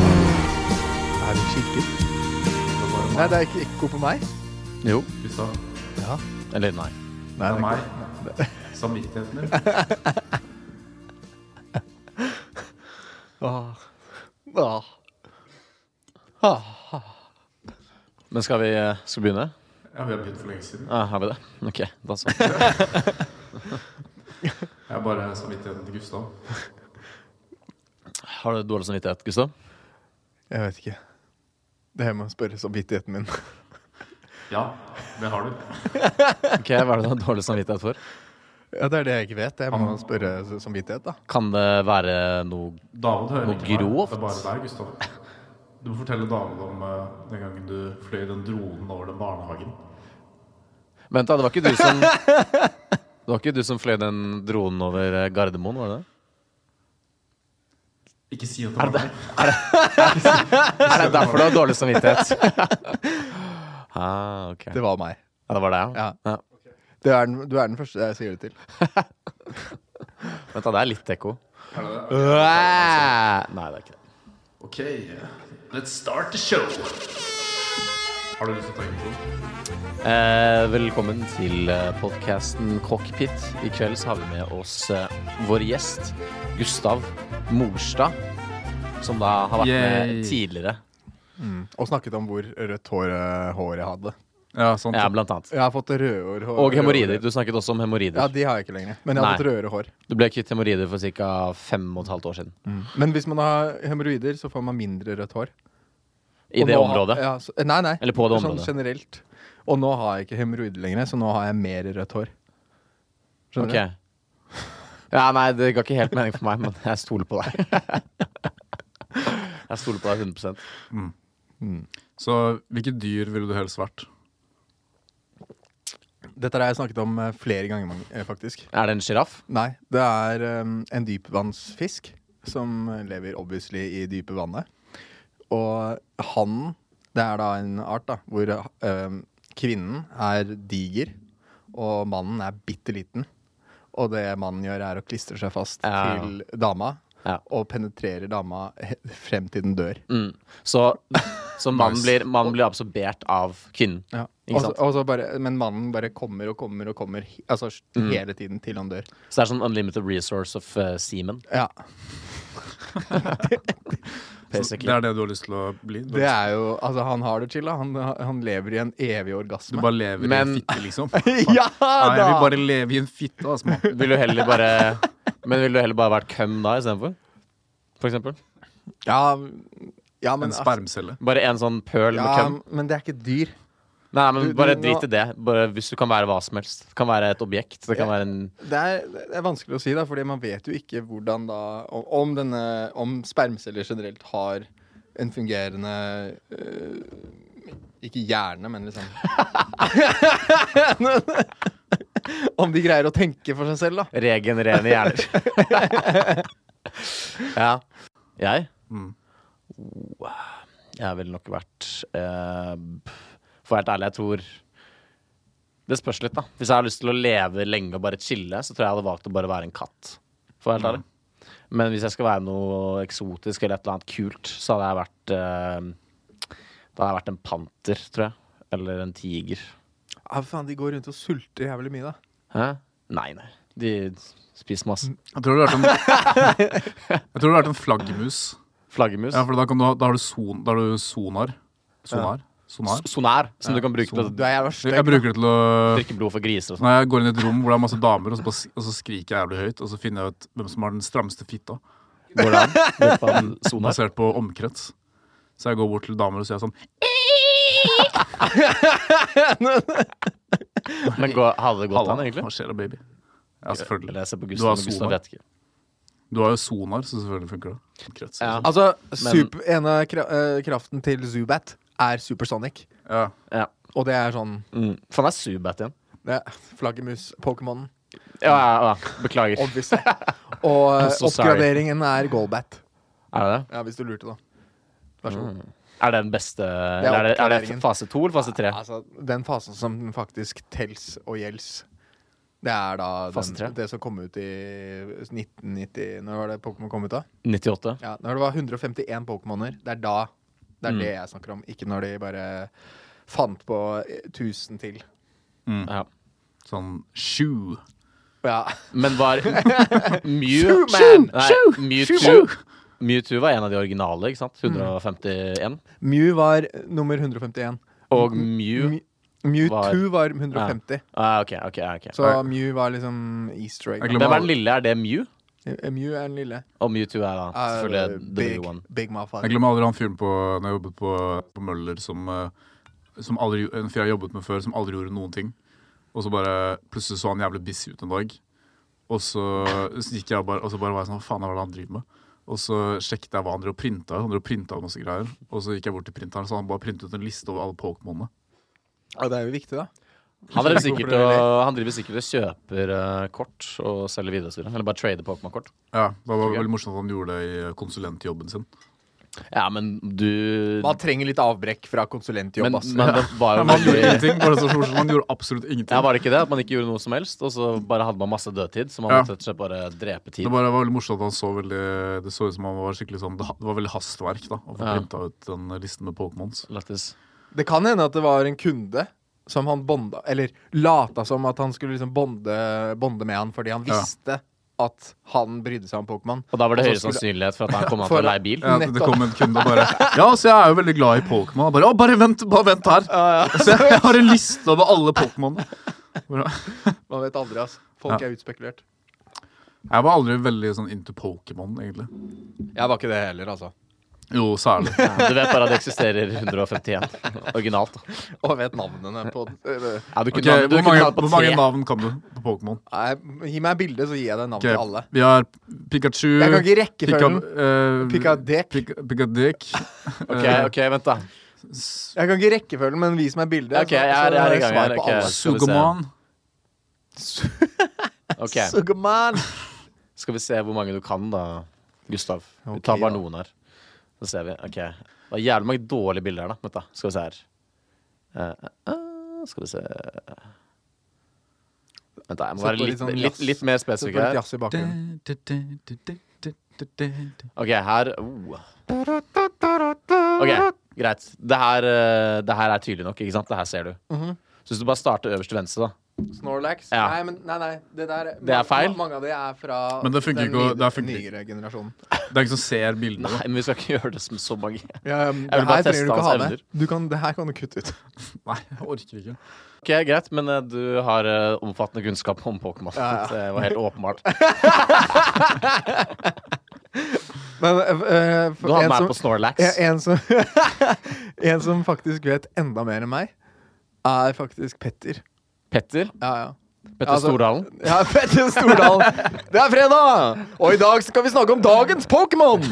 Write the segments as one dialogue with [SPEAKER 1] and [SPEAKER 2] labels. [SPEAKER 1] Er det kirken? Nei, det er ikke ekko på meg.
[SPEAKER 2] Jo.
[SPEAKER 3] Du sa
[SPEAKER 1] Ja.
[SPEAKER 2] Eller nei.
[SPEAKER 1] Nei,
[SPEAKER 3] det er
[SPEAKER 1] det er
[SPEAKER 3] meg. Samvittigheten din.
[SPEAKER 1] ikke. Åh. Åh.
[SPEAKER 2] Men skal vi eh, skal vi begynne?
[SPEAKER 3] Ja, vi har begynt for lenge siden.
[SPEAKER 2] Ja, har vi det? Ok, da så.
[SPEAKER 3] Jeg er bare samvittigheten til Gustav.
[SPEAKER 2] Har du dårlig samvittighet, Gustav?
[SPEAKER 1] Jeg vet ikke. Det her må jeg spørre samvittigheten min.
[SPEAKER 3] Ja, det har du.
[SPEAKER 2] Ok, Hva er det du har dårlig samvittighet for?
[SPEAKER 1] Ja, Det er det jeg ikke vet. Jeg må spørre s- samvittighet, da.
[SPEAKER 2] Kan det være noe
[SPEAKER 3] David hører
[SPEAKER 2] Noe
[SPEAKER 3] ikke meg.
[SPEAKER 2] grovt.
[SPEAKER 3] Det er bare deg, Gustav. Du må fortelle David om eh, den gangen du fløy den dronen over den barnehagen.
[SPEAKER 2] Vent, da. Det var ikke du som Det var ikke du som fløy den dronen over eh, Gardermoen, var det det?
[SPEAKER 3] Ikke si at det var meg.
[SPEAKER 2] Er det derfor du har dårlig samvittighet? ah, ok.
[SPEAKER 1] Det var meg.
[SPEAKER 2] Ja, det var det,
[SPEAKER 1] Ja.
[SPEAKER 2] ja.
[SPEAKER 1] Du er den, du er den første jeg sier det til.
[SPEAKER 2] Vent, da. Det er litt ekko.
[SPEAKER 3] Er det det?
[SPEAKER 2] Nei, det er ikke det.
[SPEAKER 3] Ok, let's start the show. Har du lyst til å ta introen?
[SPEAKER 2] Eh, velkommen til eh, podcasten Cockpit. I kveld så har vi med oss eh, vår gjest, Gustav Morstad, som da har vært
[SPEAKER 3] Yay.
[SPEAKER 2] med tidligere.
[SPEAKER 1] Og snakket om hvor rødt hår, eh, hår jeg hadde.
[SPEAKER 3] Ja,
[SPEAKER 1] sånn
[SPEAKER 3] sant.
[SPEAKER 2] Ja, blant annet.
[SPEAKER 1] Jeg har fått rødhår. hår-
[SPEAKER 2] Og hemoroider.
[SPEAKER 1] rødhår.
[SPEAKER 2] Du snakket også om hemoroider.
[SPEAKER 1] Ja, de har jeg ikke lenger. Men jeg har
[SPEAKER 2] Nei.
[SPEAKER 1] fått rødere hår.
[SPEAKER 2] Du ble kvitt hemoroider for ca. fem og et halvt år siden.
[SPEAKER 1] Men hvis man har hemoroider, så får man mindre rødt hår.
[SPEAKER 2] I
[SPEAKER 1] Og
[SPEAKER 2] det
[SPEAKER 1] nå har-
[SPEAKER 2] området.
[SPEAKER 1] Ja, så, nei, nei.
[SPEAKER 2] Eller på det
[SPEAKER 1] Sånn
[SPEAKER 2] området.
[SPEAKER 1] generelt. Og nå har jeg ikke hemoroider lenger, så nå har jeg mer rødt hår. Skjønner
[SPEAKER 2] Ok. Ja, nei, det ga ikke helt mening for meg, men jeg stoler på deg. Jeg stoler på deg 100
[SPEAKER 3] Så hvilke dyr ville du helst vært?
[SPEAKER 1] du? Dette har jeg snakket om eh, flere ganger, mang- eh, faktisk.
[SPEAKER 2] Er det en sjiraff?
[SPEAKER 1] Nei, det er um, en dypvannsfisk som lever obviously i dype vannet. Og hannen, det er da en art da, hvor um, kvinnen er diger, og mannen er bitte liten. Og det mannen gjør, er å klistre seg fast
[SPEAKER 2] Ja.
[SPEAKER 1] til dama.
[SPEAKER 2] Ja.
[SPEAKER 1] Og penetrerer dama he- frem til den dør.
[SPEAKER 2] Mm. Så, så mannen blir, mannen blir absorbert av kvinnen.
[SPEAKER 1] Ja. Altså,
[SPEAKER 2] Ikke
[SPEAKER 1] Og så-
[SPEAKER 2] sant?
[SPEAKER 1] og så bare, men mannen bare kommer og kommer og kommer he- altså, s-
[SPEAKER 2] Mm.
[SPEAKER 1] hele tiden til han dør.
[SPEAKER 2] Så det er sånn unlimited resource of eh, semen.
[SPEAKER 1] Ja,
[SPEAKER 3] Så
[SPEAKER 2] basically.
[SPEAKER 3] Det er det du har lyst til å bli? Du, har
[SPEAKER 1] det er jo, altså Han har det chill, da. Han, han lever i en evig
[SPEAKER 3] lyst- du
[SPEAKER 1] orgasme.
[SPEAKER 3] bare lever i
[SPEAKER 2] Men-
[SPEAKER 3] en fitte, liksom?
[SPEAKER 1] ja
[SPEAKER 3] Nei, jeg vil
[SPEAKER 1] da!
[SPEAKER 3] bare leve i en fitte, altså, mann.
[SPEAKER 2] Vil du heller bare Men vil du heller bare vært køm da istedenfor? For eksempel?
[SPEAKER 1] Ja, ja, men
[SPEAKER 3] En spermcelle.
[SPEAKER 2] Bare en sånn pøl med
[SPEAKER 1] Ja,
[SPEAKER 2] køm?
[SPEAKER 1] men det er ikke dyr.
[SPEAKER 2] Nei, men
[SPEAKER 1] du-
[SPEAKER 2] bare
[SPEAKER 1] du-
[SPEAKER 2] drit i det. Bare Hvis du kan være hva som helst. Det kan være et objekt. Det kan være en
[SPEAKER 1] Det er, det er vanskelig å si, da, fordi man vet jo ikke hvordan da Om, om denne, om spermceller generelt har en fungerende øh, Ikke hjerne, men liksom Om de greier å tenke for seg selv, da.
[SPEAKER 2] regenererende hjerner. ja. Jeg?
[SPEAKER 3] Mm.
[SPEAKER 2] Wow. Jeg ville nok vært eh, For å være helt ærlig, jeg tror Det spørs litt, da. Hvis jeg har lyst til å leve lenge og bare chille, så tror jeg jeg hadde valgt å bare være en katt. For å være helt ærlig. Men hvis jeg skal være noe eksotisk eller et eller annet kult, så hadde jeg vært eh, Da hadde jeg vært en panter, tror jeg. Eller en tiger.
[SPEAKER 1] Ja, faen, De går rundt og sulter jævlig mye, da.
[SPEAKER 2] Hæ? Nei, nei. De spiser masse.
[SPEAKER 3] Jeg tror det hadde vært en, jeg tror det hadde vært en flaggermus.
[SPEAKER 2] Flaggermus.
[SPEAKER 3] Ja, for da, kan du ha, da, har du son, da har du sonar. Sonar? sonar.
[SPEAKER 2] S- Sonar, som du kan bruke til å
[SPEAKER 3] sonar.
[SPEAKER 1] Du er jævla
[SPEAKER 3] Jeg
[SPEAKER 1] stygg.
[SPEAKER 3] bruker det til å
[SPEAKER 2] drikke blod for griser og sånn.
[SPEAKER 3] Når jeg går inn i et rom hvor det er masse damer, og så, bare, s- og så skriker jeg jævlig høyt, og så finner jeg ut hvem som har den strammeste fitta,
[SPEAKER 2] Går det an? Går det an? Sonar?
[SPEAKER 3] basert på omkrets. Så jeg går bort til damer og sier sånn
[SPEAKER 2] Men går, hadde det gått
[SPEAKER 3] Halla,
[SPEAKER 2] an, egentlig?
[SPEAKER 3] hva skjer da, baby? Ja, selvfølgelig.
[SPEAKER 2] Eller jeg ser på
[SPEAKER 3] Du har
[SPEAKER 2] Gustav, men Gustav
[SPEAKER 3] sonar.
[SPEAKER 2] vet ikke.
[SPEAKER 3] Du har jo sonar, så selvfølgelig funker det. Omkrets,
[SPEAKER 2] Ja.
[SPEAKER 3] liksom.
[SPEAKER 1] Altså, super, en av kra øh, kraften til Zubat er supersonic.
[SPEAKER 3] ja.
[SPEAKER 2] Ja.
[SPEAKER 1] Og det er sånn
[SPEAKER 2] Mm. Faen, det er Subat igjen.
[SPEAKER 1] det er Flaggermus-pokémonen.
[SPEAKER 2] Ja, ja, ja. Beklager.
[SPEAKER 1] Obviously. Og eh,
[SPEAKER 2] I'm so sorry.
[SPEAKER 1] oppgraderingen er goalbat.
[SPEAKER 2] Er det det?
[SPEAKER 1] Ja, hvis du lurte, da. Vær så god.
[SPEAKER 2] Er det den beste eller er, altså. det, er Mm, det
[SPEAKER 1] oppgraderingen.
[SPEAKER 2] fase to eller fase tre?
[SPEAKER 1] Altså, den fasen som den faktisk tels og gjelds. Det er da den,
[SPEAKER 2] Fasetre.
[SPEAKER 1] det som kom ut i 1990 Når var det Pokémon kom ut, da?
[SPEAKER 2] 98.
[SPEAKER 1] Ja, Når det var 151 Pokémoner. Det er da Det
[SPEAKER 2] Mm.
[SPEAKER 1] er det jeg snakker om. Ikke når de bare fant på eh, 1000 til.
[SPEAKER 2] Ja.
[SPEAKER 3] Sånn sju.
[SPEAKER 1] Ja.
[SPEAKER 2] Men var Mew
[SPEAKER 1] Shoo, man!
[SPEAKER 2] Nei,
[SPEAKER 1] Shoo!
[SPEAKER 2] Mewtwo
[SPEAKER 1] Shoo!
[SPEAKER 2] Mewtwo var en av de originale, ikke sant? 151.
[SPEAKER 1] Mew var eh, nummer 151.
[SPEAKER 2] Og Mew
[SPEAKER 1] Mi- Mew
[SPEAKER 2] Var-
[SPEAKER 1] 2 var 150.
[SPEAKER 2] ah, OK, OK. ok
[SPEAKER 1] Så Mew var liksom easter egg.
[SPEAKER 3] Jeg
[SPEAKER 1] da.
[SPEAKER 2] Hvem er den lille? Er det Mew?
[SPEAKER 1] Eh, Mew er den lille.
[SPEAKER 2] Og Mewtwo er da
[SPEAKER 1] Er, eh,
[SPEAKER 2] selvfølgelig the
[SPEAKER 1] big,
[SPEAKER 2] new one.
[SPEAKER 1] big
[SPEAKER 3] Jeg
[SPEAKER 1] motherfucker.
[SPEAKER 3] glemmer aldri han fyren på Når jeg jobbet på, på Møller som, eh, som aldri, En fyr jeg jobbet med før som aldri gjorde noen ting. Og så bare plutselig så han jævlig busy ut en dag. Og så, så gikk jeg bare, og så bare var jeg sånn Hva faen er det han driver med? Og så sjekket jeg hva han drev og printa. Han drev og printa ut masse greier. Og så gikk jeg bort til printeren, så han bare printet ut en liste over alle Pokémonene.
[SPEAKER 1] Ja, det er jo viktig, da.
[SPEAKER 2] Han driver sikkert og,
[SPEAKER 1] Hvorfor
[SPEAKER 2] han driver sikkert og kjøper eh, kort og selger videre. og så videre. Eller bare trader Pokémon-kort.
[SPEAKER 3] Ja, det var
[SPEAKER 2] Ok.
[SPEAKER 3] veldig morsomt at han gjorde det i konsulentjobben sin.
[SPEAKER 2] Ja, men du
[SPEAKER 1] Man trenger litt avbrekk fra konsulentjobb,
[SPEAKER 2] men,
[SPEAKER 1] ass.
[SPEAKER 2] men det var jo
[SPEAKER 3] Men han gjorde
[SPEAKER 2] veldig
[SPEAKER 3] ingenting. Bare så morsomt. Han gjorde absolutt
[SPEAKER 2] ja,
[SPEAKER 3] ingenting.
[SPEAKER 2] Var det ikke det? At man ikke gjorde noe som helst, og så bare hadde man masse dødtid? Så man
[SPEAKER 3] Ja.
[SPEAKER 2] måtte rett og slett bare drepe tid?
[SPEAKER 3] Det bare var veldig morsomt at han så veldig Det så ut som han var skikkelig sånn Det ha- det var veldig hastverk da å få
[SPEAKER 2] Ja.
[SPEAKER 3] printa ut den listen med Pokémons.
[SPEAKER 2] Lættis.
[SPEAKER 1] Det kan hende at det var en kunde som han bonda Eller lata som at han skulle liksom bonde, bonde med han fordi han
[SPEAKER 3] Ja.
[SPEAKER 1] visste at han brydde seg om Pokémon.
[SPEAKER 2] Og da var det
[SPEAKER 1] Og så skulle-
[SPEAKER 2] høyere sannsynlighet for at han kom an
[SPEAKER 1] For-
[SPEAKER 2] til å leie bil?
[SPEAKER 3] Ja, det
[SPEAKER 1] Nettopp.
[SPEAKER 3] kom en kunde og bare Ja, så jeg er jo veldig glad i Pokémon. Og Bare, «Å, bare vent bare vent her! Så jeg har en liste over alle Pokémonene. Bare-
[SPEAKER 1] Man vet aldri, ass. Folk er utspekulert.
[SPEAKER 3] Jeg var aldri veldig sånn into Pokémon, egentlig.
[SPEAKER 1] Jeg var ikke det heller, altså.
[SPEAKER 3] Jo, særlig.
[SPEAKER 2] Du vet bare at det eksisterer 151 originalt. da.
[SPEAKER 1] Og vet navnene på øh,
[SPEAKER 2] Ja, du
[SPEAKER 3] Ok,
[SPEAKER 2] kunne, ha-
[SPEAKER 3] hvor,
[SPEAKER 2] du kunne
[SPEAKER 3] mange,
[SPEAKER 2] hatt på
[SPEAKER 3] hvor mange
[SPEAKER 2] tre.
[SPEAKER 3] navn kan du på Pokémon?
[SPEAKER 1] Nei, Gi meg et bilde, så gir jeg deg navn
[SPEAKER 3] Ok,
[SPEAKER 1] til alle.
[SPEAKER 3] Vi har Pikachu
[SPEAKER 1] Jeg kan ikke rekke
[SPEAKER 3] Pika,
[SPEAKER 1] følgen.
[SPEAKER 3] eh,
[SPEAKER 1] Pikadek.
[SPEAKER 3] Pika- Pikadek. eh,
[SPEAKER 2] Ok, ok, vent, da.
[SPEAKER 3] S-
[SPEAKER 1] Jeg kan ikke rekkefølgen, men vis meg bildet.
[SPEAKER 2] Ok, jeg er- jeg er i gang, jeg er- ok. Skal vi se.
[SPEAKER 3] Sugomon.
[SPEAKER 2] Ok,
[SPEAKER 1] Sugarman.
[SPEAKER 2] Skal vi se hvor mange du kan, da, Gustav. Vi
[SPEAKER 1] Ok,
[SPEAKER 2] tar bare
[SPEAKER 1] da.
[SPEAKER 2] noen her. Så ser vi. Ok. Det er jævlig mange dårlige bilder her, da. Vent, da. Skal vi se her. Eh, eh, eh, skal vi se Vent, da. Jeg må
[SPEAKER 1] Sett på
[SPEAKER 2] være
[SPEAKER 1] litt
[SPEAKER 2] litt,
[SPEAKER 1] sånn
[SPEAKER 2] litt,
[SPEAKER 1] jazz.
[SPEAKER 2] litt mer
[SPEAKER 1] Så
[SPEAKER 2] spesifikk
[SPEAKER 1] får litt
[SPEAKER 2] her.
[SPEAKER 1] jazz i bakgrunnen.
[SPEAKER 2] Ok, her oh. Ok, greit. Det her, eh, det her er tydelig nok, ikke sant? Det her ser du.
[SPEAKER 1] Mhm.
[SPEAKER 2] Så hvis du bare starter øverst til venstre, da.
[SPEAKER 1] Snorlax?
[SPEAKER 2] Ja.
[SPEAKER 1] Nei, men nei, nei, det der
[SPEAKER 2] Det er feil.
[SPEAKER 1] Mange av de er fra
[SPEAKER 3] Men det funker
[SPEAKER 1] den
[SPEAKER 3] ikke å- det
[SPEAKER 1] nye-
[SPEAKER 3] funker ikke.
[SPEAKER 1] nyere generasjonen.
[SPEAKER 3] Det er ikke som ser bildene. da.
[SPEAKER 2] Nei, men vi skal ikke gjøre det som så mange.
[SPEAKER 1] Ja, men
[SPEAKER 2] Jeg vil
[SPEAKER 1] det
[SPEAKER 2] bare
[SPEAKER 1] her
[SPEAKER 2] teste
[SPEAKER 1] trenger du ikke
[SPEAKER 2] hans
[SPEAKER 1] ha med.
[SPEAKER 2] evner.
[SPEAKER 1] Du kan, det her kan du kutte ut.
[SPEAKER 3] Nei, jeg orker ikke.
[SPEAKER 2] Ok, Greit, men eh, du har eh, omfattende kunnskap om Pokémon.
[SPEAKER 1] Ja, ja.
[SPEAKER 2] Det var helt åpenbart.
[SPEAKER 1] Men eh, for
[SPEAKER 2] Du har
[SPEAKER 1] en,
[SPEAKER 2] meg
[SPEAKER 1] som,
[SPEAKER 2] på Snorlax.
[SPEAKER 1] en, en som En som faktisk vet enda mer enn meg, er faktisk Petter.
[SPEAKER 2] Petter.
[SPEAKER 1] Ja, ja.
[SPEAKER 2] Petter
[SPEAKER 1] Altså-
[SPEAKER 2] Stordalen.
[SPEAKER 1] Ja, Petter Stordal. Det er fredag, og i dag skal vi snakke om dagens Pokémon.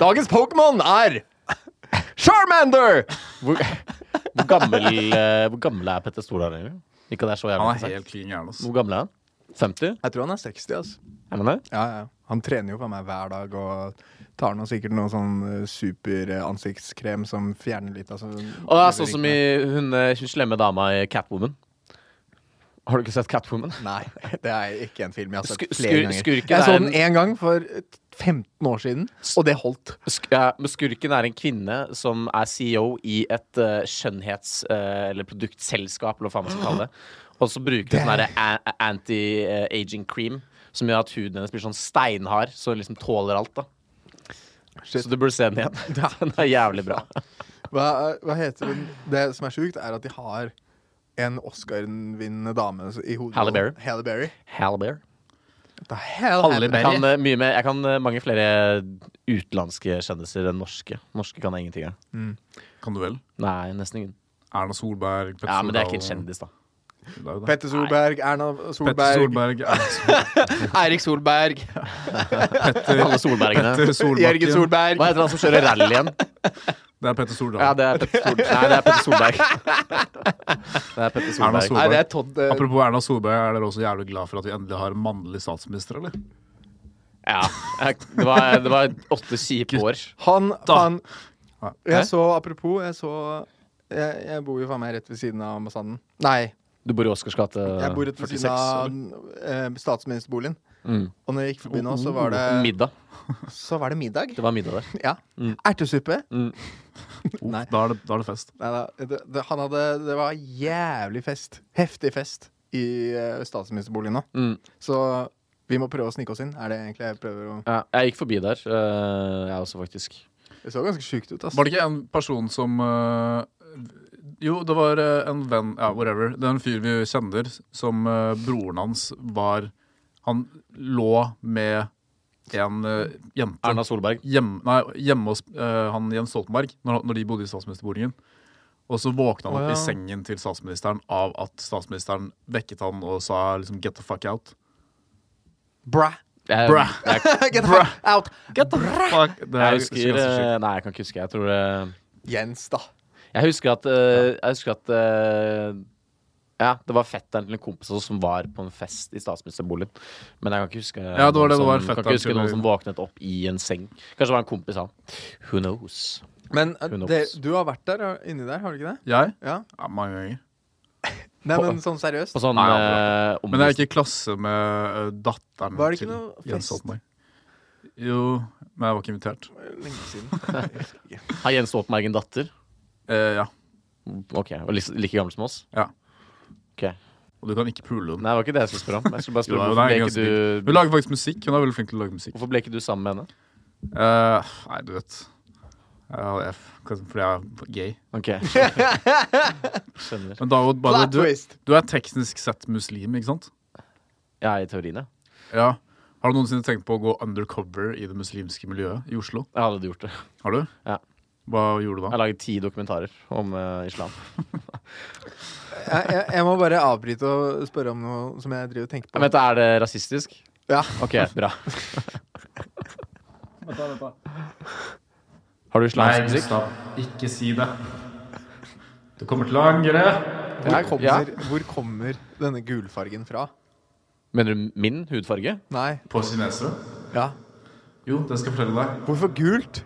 [SPEAKER 1] Dagens Pokémon er Charmander!
[SPEAKER 2] Hvor, hvor, gammel, eh, hvor gammel er Petter Stordalen egentlig? Ikke at det er så jævlig
[SPEAKER 3] Han er
[SPEAKER 2] interessant.
[SPEAKER 3] helt klin gæren. ass.
[SPEAKER 2] Hvor gammel er han? 50?
[SPEAKER 1] Jeg tror han er 60, altså.
[SPEAKER 2] Er han det?
[SPEAKER 1] Ja, ja. Han trener jo for meg hver dag og tar nå sikkert noe sånn eh, super eh, ansiktskrem som fjerner litt av sånn
[SPEAKER 2] Å, ja, sånn som i hun, eh, hun slemme dama i Catwoman. Har du ikke sett Catwoman?
[SPEAKER 1] Nei, det er ikke en film jeg har sett
[SPEAKER 2] Sku-
[SPEAKER 1] flere
[SPEAKER 2] skur-
[SPEAKER 1] ganger.
[SPEAKER 2] skurken
[SPEAKER 1] jeg så
[SPEAKER 2] er
[SPEAKER 1] den én gang for eh, 15 år siden, og det holdt.
[SPEAKER 2] Sk ja, men skurken er en kvinne som er CEO i et eh, skjønnhets- eh, eller produktselskap, eller hva faen man skal kalle det. Og så bruker hun sånn derre a- anti-aging cream som gjør at huden hennes blir sånn steinhard, så hun liksom tåler alt, da.
[SPEAKER 1] Shit.
[SPEAKER 2] Så du burde se den igjen. Den er jævlig bra.
[SPEAKER 1] Hva, hva heter hun? Det som er sjukt, er at de har en Oscar-vinnende dame i hodet.
[SPEAKER 2] Halle Berry.
[SPEAKER 1] Halle Berry.
[SPEAKER 2] Halle Bear.
[SPEAKER 1] What the hell, Halle
[SPEAKER 2] Jeg kan, eh, mye mer, jeg kan eh, mange flere utenlandske kjendiser enn norske. Norske kan jeg ingenting av.
[SPEAKER 3] Kan du vel?
[SPEAKER 2] Nei, nesten ingen.
[SPEAKER 3] Erna Solberg, Petter
[SPEAKER 2] Ja, men det er ikke en
[SPEAKER 3] Stordalen.
[SPEAKER 2] kjendis, da.
[SPEAKER 3] Det er jo det.
[SPEAKER 1] Petter Solberg, Erna
[SPEAKER 3] Petter
[SPEAKER 1] Solberg,
[SPEAKER 3] Solberg, Erna Solberg,
[SPEAKER 1] Eirik Solberg,
[SPEAKER 2] Alle solbergene.
[SPEAKER 3] Petter Solbakken.
[SPEAKER 1] Jørgen Solberg.
[SPEAKER 2] Hva heter han som kjører rally igjen?
[SPEAKER 3] Det er Petter Stordalen.
[SPEAKER 2] Ja, det er Petter Solberg. Nei, det er Petter Solberg. Det er Petter
[SPEAKER 3] Erna
[SPEAKER 2] Solberg.
[SPEAKER 1] Nei, det er
[SPEAKER 3] Solberg.
[SPEAKER 1] Todd eh,
[SPEAKER 3] Apropos Erna Solberg, er dere også jævlig glad for at vi endelig har en mannlig statsminister, eller?
[SPEAKER 2] Ja. jeg- Det var, det var åtte kjipe år.
[SPEAKER 1] Han, han
[SPEAKER 3] Ja.
[SPEAKER 1] Jeg så, apropos, jeg så Jeg, jeg bor jo faen meg rett ved siden av ambassaden. Nei,
[SPEAKER 2] Du bor i Oscars gate
[SPEAKER 1] Jeg bor rett ved
[SPEAKER 2] 46,
[SPEAKER 1] siden av
[SPEAKER 2] eller?
[SPEAKER 1] eh, statsministerboligen.
[SPEAKER 2] Mm.
[SPEAKER 1] Og når jeg gikk forbi nå, så
[SPEAKER 2] Oh,
[SPEAKER 1] var det,
[SPEAKER 2] Middag.
[SPEAKER 1] så var det middag.
[SPEAKER 2] Det var middag der.
[SPEAKER 1] Ja. Ertesuppe.
[SPEAKER 2] Mm.
[SPEAKER 1] Nei.
[SPEAKER 3] Da er det, da er det fest.
[SPEAKER 1] Nei da. Det, det, han hadde, det var jævlig fest. Heftig fest i eh, statsministerboligen nå.
[SPEAKER 2] Mm.
[SPEAKER 1] Så vi må prøve å snike oss inn. Er det egentlig jeg prøver å
[SPEAKER 2] Ja, jeg gikk forbi der, eh, jeg også, faktisk.
[SPEAKER 1] Det så ganske sjukt ut, altså. ass.
[SPEAKER 3] Var det ikke en person som eh, Jo, det var eh, en venn Ja, whatever. Det er en fyr vi kjenner som eh, broren hans var Han lå med en eh, jente
[SPEAKER 2] Erna Solberg.
[SPEAKER 3] hjem, nei, hjemme hos eh, han Jens Stoltenberg når, når de bodde i statsministerboligen. Og så våkna han
[SPEAKER 1] Å,
[SPEAKER 3] opp
[SPEAKER 1] ja.
[SPEAKER 3] i sengen til statsministeren av at statsministeren vekket han og sa liksom 'get the fuck out'.
[SPEAKER 1] Bra.
[SPEAKER 2] Jeg,
[SPEAKER 3] Bra.
[SPEAKER 2] Jeg,
[SPEAKER 1] Get the
[SPEAKER 3] Bra.
[SPEAKER 1] fuck out.
[SPEAKER 3] Fuck. Det er
[SPEAKER 2] jeg
[SPEAKER 3] ganske
[SPEAKER 2] husker
[SPEAKER 3] sjukt.
[SPEAKER 2] eh, Nei, jeg kan ikke huske. Jeg tror eh, det
[SPEAKER 1] Jens, da.
[SPEAKER 2] Jeg husker at, eh, jeg husker at eh, Ja, det var fetteren til en kompis også som var på en fest i statsministerboligen. Men jeg kan ikke huske
[SPEAKER 3] Ja, det var det det var,
[SPEAKER 2] som, kan
[SPEAKER 3] fetteren
[SPEAKER 2] ikke huske
[SPEAKER 3] til-
[SPEAKER 2] noen som våknet opp i en seng. Kanskje det var en kompis, han. Who knows?
[SPEAKER 1] Men eh,
[SPEAKER 2] Who knows?
[SPEAKER 1] det, du har vært der, har- inni der, har du ikke det?
[SPEAKER 3] Jeg?
[SPEAKER 1] Ja.
[SPEAKER 3] Ja, mange ganger.
[SPEAKER 1] Nei, men sånn seriøst.
[SPEAKER 2] På sånn
[SPEAKER 3] Nei,
[SPEAKER 2] eh,
[SPEAKER 3] Men jeg
[SPEAKER 2] omvisning.
[SPEAKER 3] er ikke i klasse med eh, datteren
[SPEAKER 1] Var det ikke
[SPEAKER 3] til
[SPEAKER 1] noe
[SPEAKER 3] Jens
[SPEAKER 1] fest?
[SPEAKER 3] Stoltenberg. Jo, men jeg var ikke invitert.
[SPEAKER 1] Lenge siden.
[SPEAKER 2] Har Jens Stoltenberg en datter?
[SPEAKER 3] Eh, ja.
[SPEAKER 2] Ok, og like, like gammel som oss?
[SPEAKER 3] Ja.
[SPEAKER 2] Ok.
[SPEAKER 3] Og du kan ikke pule henne.
[SPEAKER 2] Nei, det var ikke det jeg skulle spørre om. Jeg skulle bare
[SPEAKER 3] Jo,
[SPEAKER 2] spørre
[SPEAKER 3] hun er
[SPEAKER 2] Hvorfor ble
[SPEAKER 3] ganske
[SPEAKER 2] ikke
[SPEAKER 3] flink.
[SPEAKER 2] du
[SPEAKER 3] Hun lager faktisk musikk. Hun er veldig flink til å lage musikk.
[SPEAKER 2] Hvorfor ble ikke du sammen med henne?
[SPEAKER 3] Eh, nei, du vet Ja, jeg, Fordi jeg er gay.
[SPEAKER 2] Ok Skjønner.
[SPEAKER 3] Men da, er jo bare,
[SPEAKER 1] Plot
[SPEAKER 3] du,
[SPEAKER 1] twist.
[SPEAKER 3] du er teknisk sett muslim, ikke sant?
[SPEAKER 2] Ja, i teorien, ja.
[SPEAKER 3] Ja. Har du noensinne tenkt på å gå undercover i det muslimske miljøet i Oslo?
[SPEAKER 2] Jeg hadde gjort det.
[SPEAKER 3] Har du?
[SPEAKER 2] Ja.
[SPEAKER 3] Hva gjorde du
[SPEAKER 2] Jeg
[SPEAKER 3] da?
[SPEAKER 2] har laget ti dokumentarer om eh, islam.
[SPEAKER 1] Jeg, jeg, jeg må bare avbryte og spørre om noe som jeg driver og tenker på.
[SPEAKER 2] Vent, er det rasistisk?
[SPEAKER 1] Ja.
[SPEAKER 2] Ok, bra. Har du islamsk musikk?
[SPEAKER 3] Ikke si det. Du kommer til å angre.
[SPEAKER 1] Hvor
[SPEAKER 2] Ja.
[SPEAKER 1] kommer, hvor kommer denne gulfargen fra?
[SPEAKER 2] Mener du min hudfarge?
[SPEAKER 1] Nei.
[SPEAKER 3] På kinesere?
[SPEAKER 1] Ja.
[SPEAKER 3] Jo, det skal jeg fortelle deg.
[SPEAKER 1] Hvorfor gult?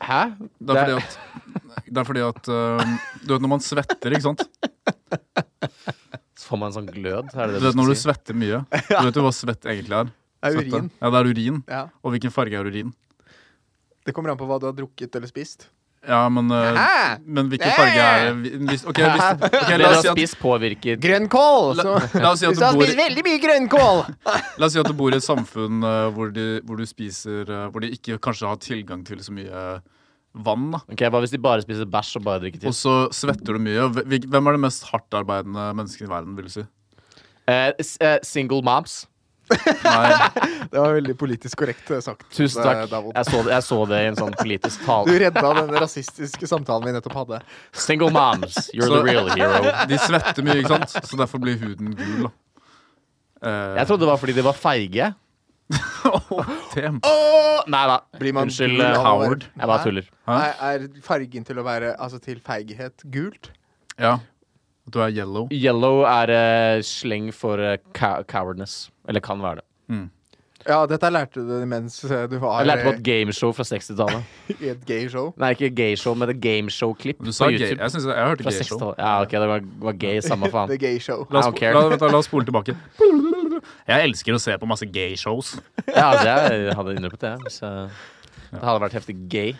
[SPEAKER 2] Hæ?
[SPEAKER 3] Det er fordi at, det er fordi at øhm, Du vet når man svetter, ikke sant?
[SPEAKER 2] Så får man en sånn glød? Er
[SPEAKER 3] Du
[SPEAKER 2] det det
[SPEAKER 3] vet når du
[SPEAKER 2] skal si?
[SPEAKER 3] svetter mye. Du vet jo hva svett egentlig er?
[SPEAKER 1] Det er
[SPEAKER 3] Svette.
[SPEAKER 1] urin.
[SPEAKER 3] Ja, det er urin.
[SPEAKER 1] Ja.
[SPEAKER 3] Og hvilken farge er urin?
[SPEAKER 1] Det kommer an på hva du har drukket eller spist.
[SPEAKER 3] Ja, men, øh,
[SPEAKER 1] Hæ?
[SPEAKER 3] men hvilken farge er hvis, Ok, hvis, ok,
[SPEAKER 2] Det
[SPEAKER 3] la, oss
[SPEAKER 2] du
[SPEAKER 3] si
[SPEAKER 2] har
[SPEAKER 3] at,
[SPEAKER 2] spist, påvirker
[SPEAKER 1] Grønnkål!
[SPEAKER 3] la, la, oss si at du bor, i-
[SPEAKER 1] veldig mye grønnkål!
[SPEAKER 3] la oss si at du bor i et samfunn øh, hvor, de, hvor du spiser øh, Hvor de ikke kanskje har tilgang til så mye øh, vann. da
[SPEAKER 2] Ok, Hva hvis de bare spiser bæsj og bare drikker
[SPEAKER 3] Og
[SPEAKER 2] til?
[SPEAKER 3] så svetter du mye. Hvil- Hvem er det mest hardtarbeidende mennesket i verden, vil du si?
[SPEAKER 2] Eh, s- eh, single moms.
[SPEAKER 3] Nei,
[SPEAKER 1] Det var veldig politisk korrekt eh, sagt. eh,
[SPEAKER 2] Tusen takk.
[SPEAKER 1] Davon.
[SPEAKER 2] Jeg så, det, jeg så det i en sånn politisk
[SPEAKER 1] Du
[SPEAKER 2] tale.
[SPEAKER 1] redda den rasistiske samtalen vi nettopp hadde.
[SPEAKER 2] Single moms, you're the
[SPEAKER 3] Så-
[SPEAKER 2] real hero.
[SPEAKER 3] De svetter mye, ikke sant? Så derfor blir huden gul. da Eh,
[SPEAKER 2] Jeg trodde det var fordi de var feige.
[SPEAKER 3] Tem.
[SPEAKER 2] Åh, nei da.
[SPEAKER 1] Blir man
[SPEAKER 2] Unnskyld,
[SPEAKER 1] gul av å være-
[SPEAKER 2] Howard. Jeg bare
[SPEAKER 1] Hæ?
[SPEAKER 2] tuller.
[SPEAKER 1] Nei, er fargen til å være Altså til feighet gult?
[SPEAKER 3] Ja. At du er yellow.
[SPEAKER 2] Yellow er eh, sleng for eh, cow- cowardness. Eller kan være det.
[SPEAKER 1] Ja, dette lærte du mens eh, du var
[SPEAKER 2] Jeg lærte på
[SPEAKER 1] eh,
[SPEAKER 2] et gameshow fra 60-tallet.
[SPEAKER 1] i et gay show.
[SPEAKER 2] Nei, ikke gameshow, men et gameshow-klipp
[SPEAKER 3] Du
[SPEAKER 2] på
[SPEAKER 3] sa gay.
[SPEAKER 2] YouTube.
[SPEAKER 3] Jeg, synes jeg, jeg hørte
[SPEAKER 2] Fra
[SPEAKER 3] gay show.
[SPEAKER 2] 60-tallet. Ja, ok, det var, var gay, samme faen.
[SPEAKER 1] The gay show.
[SPEAKER 3] La oss,
[SPEAKER 2] I don't care.
[SPEAKER 3] la, vent da, la oss spole tilbake. Jeg elsker å se på masse gay shows.
[SPEAKER 2] Ja, altså, jeg hadde innrømmet det. Hvis jeg, det hadde vært heftig gay.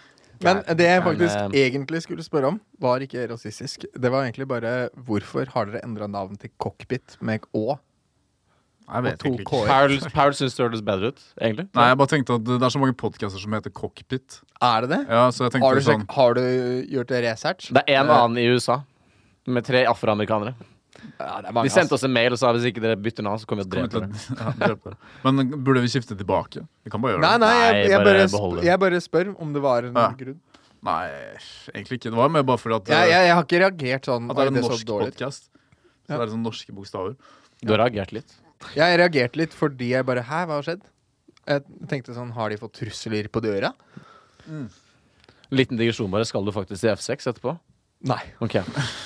[SPEAKER 1] Men det jeg
[SPEAKER 2] men,
[SPEAKER 1] faktisk
[SPEAKER 2] eh,
[SPEAKER 1] egentlig skulle spørre om, var ikke rasistisk. Det var egentlig bare hvorfor har dere endra navn til cockpit med Å?
[SPEAKER 3] Jeg vet
[SPEAKER 1] Og to
[SPEAKER 3] egentlig ikke.
[SPEAKER 1] K-er.
[SPEAKER 2] Paul, Paul syns det hørtes bedre ut, egentlig.
[SPEAKER 3] Nei, jeg bare tenkte at Det er så mange podcaster som heter Cockpit.
[SPEAKER 1] Er det det?
[SPEAKER 3] Ja, så jeg
[SPEAKER 1] Har du,
[SPEAKER 3] tenkte
[SPEAKER 1] sjekk,
[SPEAKER 3] sånn
[SPEAKER 1] har du gjort research?
[SPEAKER 2] Det er en annen i USA. Med tre afroamerikanere.
[SPEAKER 1] Ja, det er
[SPEAKER 2] De
[SPEAKER 1] mange,
[SPEAKER 2] sendte oss en mail og sa hvis ikke dere bytter navn, så kommer vi
[SPEAKER 3] Kommer
[SPEAKER 2] og
[SPEAKER 3] til
[SPEAKER 2] dreper
[SPEAKER 3] å-
[SPEAKER 2] dere.
[SPEAKER 3] ja, drepe dere. Men burde vi skifte tilbake? Vi kan bare
[SPEAKER 1] Nei,
[SPEAKER 3] gjøre det.
[SPEAKER 1] nei, jeg,
[SPEAKER 2] Nei,
[SPEAKER 1] jeg,
[SPEAKER 2] bare
[SPEAKER 1] bare,
[SPEAKER 2] behold
[SPEAKER 1] sp
[SPEAKER 2] det.
[SPEAKER 1] jeg bare spør om det var en
[SPEAKER 3] Ja.
[SPEAKER 1] grunn.
[SPEAKER 3] Nei, egentlig ikke. Det var mer bare fordi at,
[SPEAKER 1] Jeg, jeg, jeg har ikke reagert sånn.
[SPEAKER 3] at det er
[SPEAKER 1] «Oi,
[SPEAKER 3] en
[SPEAKER 1] så
[SPEAKER 3] norsk
[SPEAKER 1] dårlig ut».
[SPEAKER 3] podkast. Så
[SPEAKER 1] Ja.
[SPEAKER 3] det er sånn norske bokstaver.
[SPEAKER 2] Du har reagert litt.
[SPEAKER 1] Jeg reagerte litt fordi jeg bare Hæ, hva har skjedd? Jeg tenkte sånn Har de fått trusler på døra?
[SPEAKER 2] Liten digresjon bare. Skal du faktisk til F6 etterpå?
[SPEAKER 1] Nei.
[SPEAKER 2] Ok,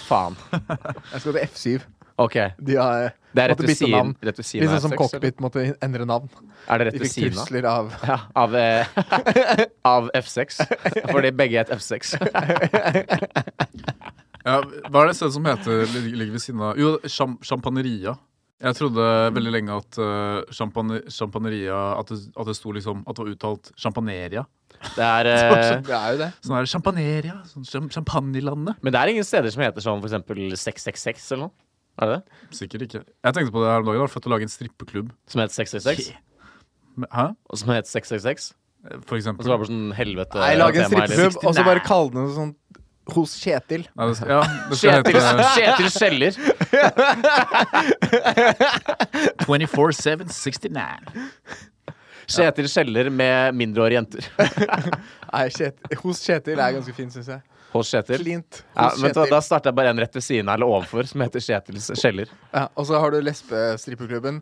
[SPEAKER 2] faen.
[SPEAKER 1] Jeg skal til F7.
[SPEAKER 2] Ok,
[SPEAKER 1] De har eh,
[SPEAKER 2] Det er rett
[SPEAKER 1] måtte
[SPEAKER 2] ved
[SPEAKER 1] bytte
[SPEAKER 2] siden,
[SPEAKER 1] navn.
[SPEAKER 2] rett ved siden
[SPEAKER 1] Litt
[SPEAKER 2] av
[SPEAKER 1] sånn som
[SPEAKER 2] F6, eller?
[SPEAKER 1] cockpit måtte endre navn.
[SPEAKER 2] Er det rett
[SPEAKER 1] De
[SPEAKER 2] ved
[SPEAKER 1] fikk
[SPEAKER 2] siden av?
[SPEAKER 1] trusler av
[SPEAKER 2] Ja, av, eh, av F6. Fordi begge het F6.
[SPEAKER 3] Ja, hva er det stedet som heter lig- ligger ved siden av Jo, Cham Champagneria. Jeg trodde veldig lenge at uh, champagne, Champagneria At det, at det sto liksom At det var uttalt Champagneria.
[SPEAKER 2] Det er, eh,
[SPEAKER 1] Det er jo det.
[SPEAKER 3] Sånn her Champagneria. Sånn cham- Champagnelandet.
[SPEAKER 2] men det er ingen steder som heter sånn for eksempel 666 eller noe. Er det det?
[SPEAKER 3] Sikkert ikke. Jeg tenkte på det her om dagen. da, For å lage en strippeklubb.
[SPEAKER 2] Som heter 666?
[SPEAKER 3] Men- Hæ?
[SPEAKER 2] Og som heter 666?
[SPEAKER 3] For
[SPEAKER 2] Og så var
[SPEAKER 3] eksempel.
[SPEAKER 2] det bare sånn helvete
[SPEAKER 1] Nei, lag en
[SPEAKER 2] tema, eller-
[SPEAKER 1] strippeklubb, og så bare kalle den noe sånt hos Kjetil.
[SPEAKER 3] Nei, det, ja, det skal
[SPEAKER 2] Kjetil
[SPEAKER 3] hete
[SPEAKER 2] Kjetil Skjeller.
[SPEAKER 3] 24-7-69.
[SPEAKER 2] Kjetil Skjeller med mindreårige jenter.
[SPEAKER 1] Nei, Kjetil. Hos Kjetil er ganske fint, syns jeg.
[SPEAKER 2] Hos Kjetil.
[SPEAKER 1] Klint.
[SPEAKER 2] Ja,
[SPEAKER 1] Hos
[SPEAKER 2] men da, da
[SPEAKER 1] Kjetil.
[SPEAKER 2] starter jeg bare en rett ved siden av eller overfor, som heter Kjetil Skjeller.
[SPEAKER 1] Ja, og så har du lesbestrippeklubben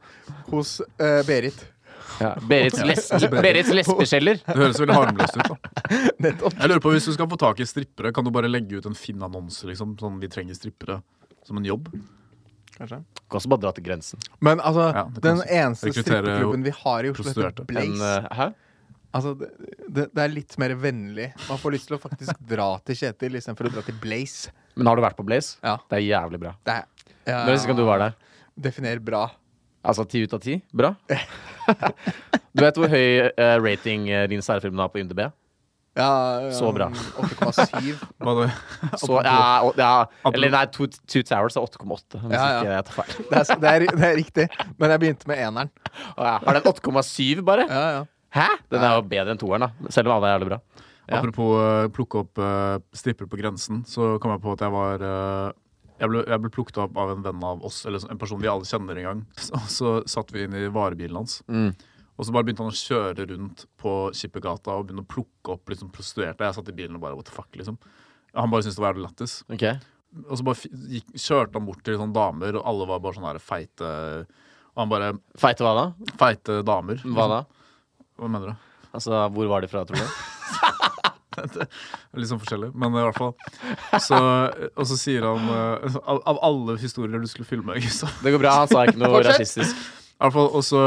[SPEAKER 1] hos eh, Berit.
[SPEAKER 2] Ja. Berits, les Berits lesbeskjeller.
[SPEAKER 3] Det høres veldig harmløst ut. da
[SPEAKER 1] Nettopp.
[SPEAKER 3] Jeg lurer på, Hvis du skal få tak i strippere, kan du bare legge ut en fin annonse? liksom Sånn vi trenger strippere som en jobb?
[SPEAKER 1] Kanskje.
[SPEAKER 2] Kan også bare dra til grensen.
[SPEAKER 1] Men altså,
[SPEAKER 3] Ja, det kan
[SPEAKER 1] den
[SPEAKER 3] også
[SPEAKER 1] eneste
[SPEAKER 3] rekruttere
[SPEAKER 1] strippeklubben vi har i Oslo, heter
[SPEAKER 3] prostituerte.
[SPEAKER 1] Blaze.
[SPEAKER 2] En, eh, hæ?
[SPEAKER 1] Altså, det, det, det er litt mer vennlig. Man får lyst til å faktisk dra til Kjetil istedenfor å dra til Blaze.
[SPEAKER 2] Men har du vært på Blaze?
[SPEAKER 1] Ja.
[SPEAKER 2] Det er jævlig bra.
[SPEAKER 1] Det er ja,
[SPEAKER 2] Når sist gang du var der?
[SPEAKER 1] Definer bra.
[SPEAKER 2] Altså ti ut av ti? Bra? Du vet hvor høy eh, rating eh, din særfilm har på IMDb?
[SPEAKER 1] Ja,
[SPEAKER 2] Så bra.
[SPEAKER 1] um, 8,7.
[SPEAKER 3] Hva det?
[SPEAKER 2] Så, ja, og- ja,
[SPEAKER 3] Apropos-
[SPEAKER 2] eller nei, Two, two Towers er 8,8. Hvis
[SPEAKER 1] Ja, ja.
[SPEAKER 2] ikke jeg tar feil.
[SPEAKER 1] Det, er s- det, er- det er riktig. Men jeg begynte med eneren.
[SPEAKER 2] Å, ja. Har den 8,7 bare?
[SPEAKER 1] Ja, ja.
[SPEAKER 2] Hæ? Den er jo bedre enn toeren, da. Selv om alle er jævlig bra. Ja.
[SPEAKER 3] Apropos eh, plukke opp uh, strippere på grensen, så kom jeg på at jeg var eh, jeg ble, jeg ble plukket opp av en venn av oss, eller så- en person vi alle kjenner en gang. Så, så satt vi inn i varebilen hans. Og så bare begynte han å kjøre rundt på Skippergata og begynne å plukke opp liksom, prostituerte. Jeg satt i bilen og bare what the fuck, liksom. Han bare syntes det var jævlig lættis.
[SPEAKER 2] Ok
[SPEAKER 3] Og så bare fi- gikk, kjørte han bort til sånne damer, og alle var bare sånne her feite Og han bare
[SPEAKER 2] Feite hva da?
[SPEAKER 3] Feite damer.
[SPEAKER 2] Hva da?
[SPEAKER 3] Hva mener du?
[SPEAKER 2] Altså, hvor var de fra, tror du?
[SPEAKER 3] Litt sånn forskjellig, men i hvert fall. Så, og så sier han eh, av, av alle historier du skulle filme, Gustav
[SPEAKER 2] Det går bra, han sa ikke noe
[SPEAKER 1] Fortsett.
[SPEAKER 2] rasistisk.
[SPEAKER 3] I hvert fall, og, så,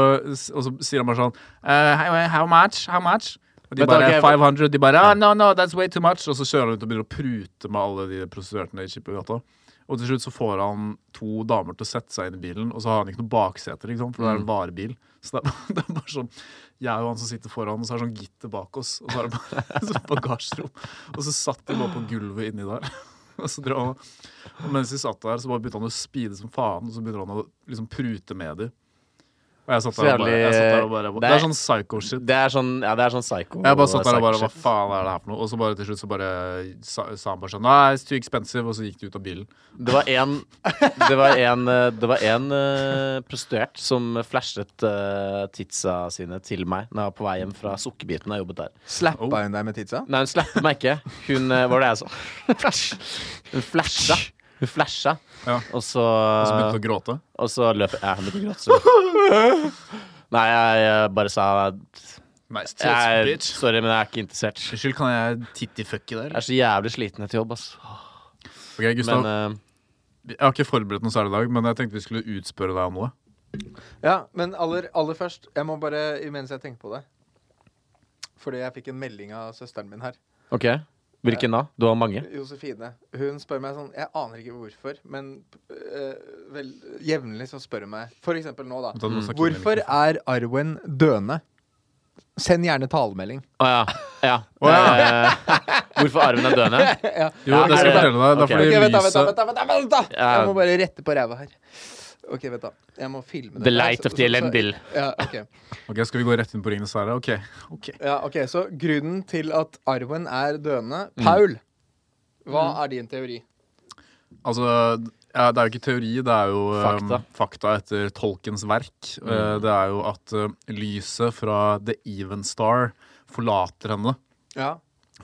[SPEAKER 3] og så sier han bare sånn eh, hey, How much? How much? Og de
[SPEAKER 2] Men
[SPEAKER 3] bare
[SPEAKER 2] da, ok,
[SPEAKER 3] 500. De bare ah, No, no, that's way too much. Og så kjører han ut og begynner å prute med alle de prostituerte i Skippergata. Og til slutt så får han to damer til å sette seg inn i bilen, og så har han ikke noen bakseter, ikke sant? for det
[SPEAKER 2] Mm.
[SPEAKER 3] er en varebil. Så det er, bare- det er bare sånn Jeg og han som sitter foran, og så er det sånn gitter bak oss, og så er det bare sånn bagasjerom. Og så satt de bare på gulvet inni der. Og så drev han Og mens de satt der, så bare begynte han å speede som faen, og så begynte han å liksom prute med dem. Og jeg satt
[SPEAKER 2] Så
[SPEAKER 3] der og bare, jeg satt der og bare
[SPEAKER 2] jævlig-
[SPEAKER 3] Det er sånn psycho-shit.
[SPEAKER 2] Det er sånn, ja, det er sånn psycho.
[SPEAKER 3] Jeg bare satt der og bare Hva
[SPEAKER 2] psycho-shit.
[SPEAKER 3] faen er det her for noe? Og så bare til slutt så bare sa, sa han bare sånn Nei, it's too expensive. Og så gikk de ut av bilen.
[SPEAKER 2] Det var en Det var en, eh, det var en eh, prostituert som flashet eh, titsa sine til meg Når jeg var på vei hjem fra sukkerbiten. Jeg jobbet der.
[SPEAKER 1] Slappa
[SPEAKER 3] Oh.
[SPEAKER 1] hun deg med tidsa?
[SPEAKER 2] Nei, hun slappet meg ikke. Hun eh, var det jeg så. Hun flasha. Hun flasha,
[SPEAKER 3] Ja.
[SPEAKER 2] og så
[SPEAKER 3] Og så begynte han å gråte.
[SPEAKER 2] Og så løp jeg. Jeg begynte å gråte. Så. Nei, jeg, jeg bare sa
[SPEAKER 3] Nice tits,
[SPEAKER 2] jeg,
[SPEAKER 3] bitch.
[SPEAKER 2] Sorry, men jeg er ikke interessert.
[SPEAKER 3] Unnskyld, kan jeg tittifucke deg?
[SPEAKER 2] Jeg er så jævlig sliten etter jobb, ass.
[SPEAKER 3] Ok, Gustav,
[SPEAKER 2] Men eh,
[SPEAKER 3] Jeg har ikke forberedt noe særlig i dag, men jeg tenkte vi skulle utspørre deg om noe.
[SPEAKER 1] Ja, men aller, aller først Jeg må bare, imens jeg tenker på det Fordi jeg fikk en melding av søsteren min her.
[SPEAKER 2] OK. Hvilken da? Du har mange?
[SPEAKER 1] Josefine. Hun spør meg sånn Jeg aner ikke hvorfor, men øh, vel, jevnlig så spør hun meg For eksempel nå, da.
[SPEAKER 3] Vent, da, nå snakker vi med
[SPEAKER 1] Hvorfor
[SPEAKER 3] mikrofonen.
[SPEAKER 1] er Arwen døende? Send gjerne talemelding.
[SPEAKER 2] Å ja. ja.
[SPEAKER 3] Å, ja.
[SPEAKER 2] Eh, hvorfor arven er døende?
[SPEAKER 1] Ja.
[SPEAKER 3] Jo, det skal jeg fortelle deg. Det er
[SPEAKER 2] Ok.
[SPEAKER 3] fordi
[SPEAKER 1] Ok, vent da, vent da,
[SPEAKER 3] lyset
[SPEAKER 1] vent da, vent da, vent da.
[SPEAKER 2] Ja.
[SPEAKER 1] Jeg må bare rette på ræva her. OK, vent da. Jeg må filme
[SPEAKER 2] The
[SPEAKER 1] dette her,
[SPEAKER 2] light
[SPEAKER 1] så-
[SPEAKER 2] of the
[SPEAKER 1] så- så-
[SPEAKER 2] elendil.
[SPEAKER 1] Ja, ok.
[SPEAKER 3] Ok, Skal vi gå rett inn på Ringenes herre? Ok. ok
[SPEAKER 1] ja, ok, Så grunnen til at arven er døende Paul, hva er din teori?
[SPEAKER 3] Altså, ja, det er jo ikke teori, det er jo um,
[SPEAKER 2] Fakta.
[SPEAKER 3] fakta etter Tolkens verk. Eh, det er jo at eh, lyset fra The Even Star forlater henne.
[SPEAKER 1] Ja,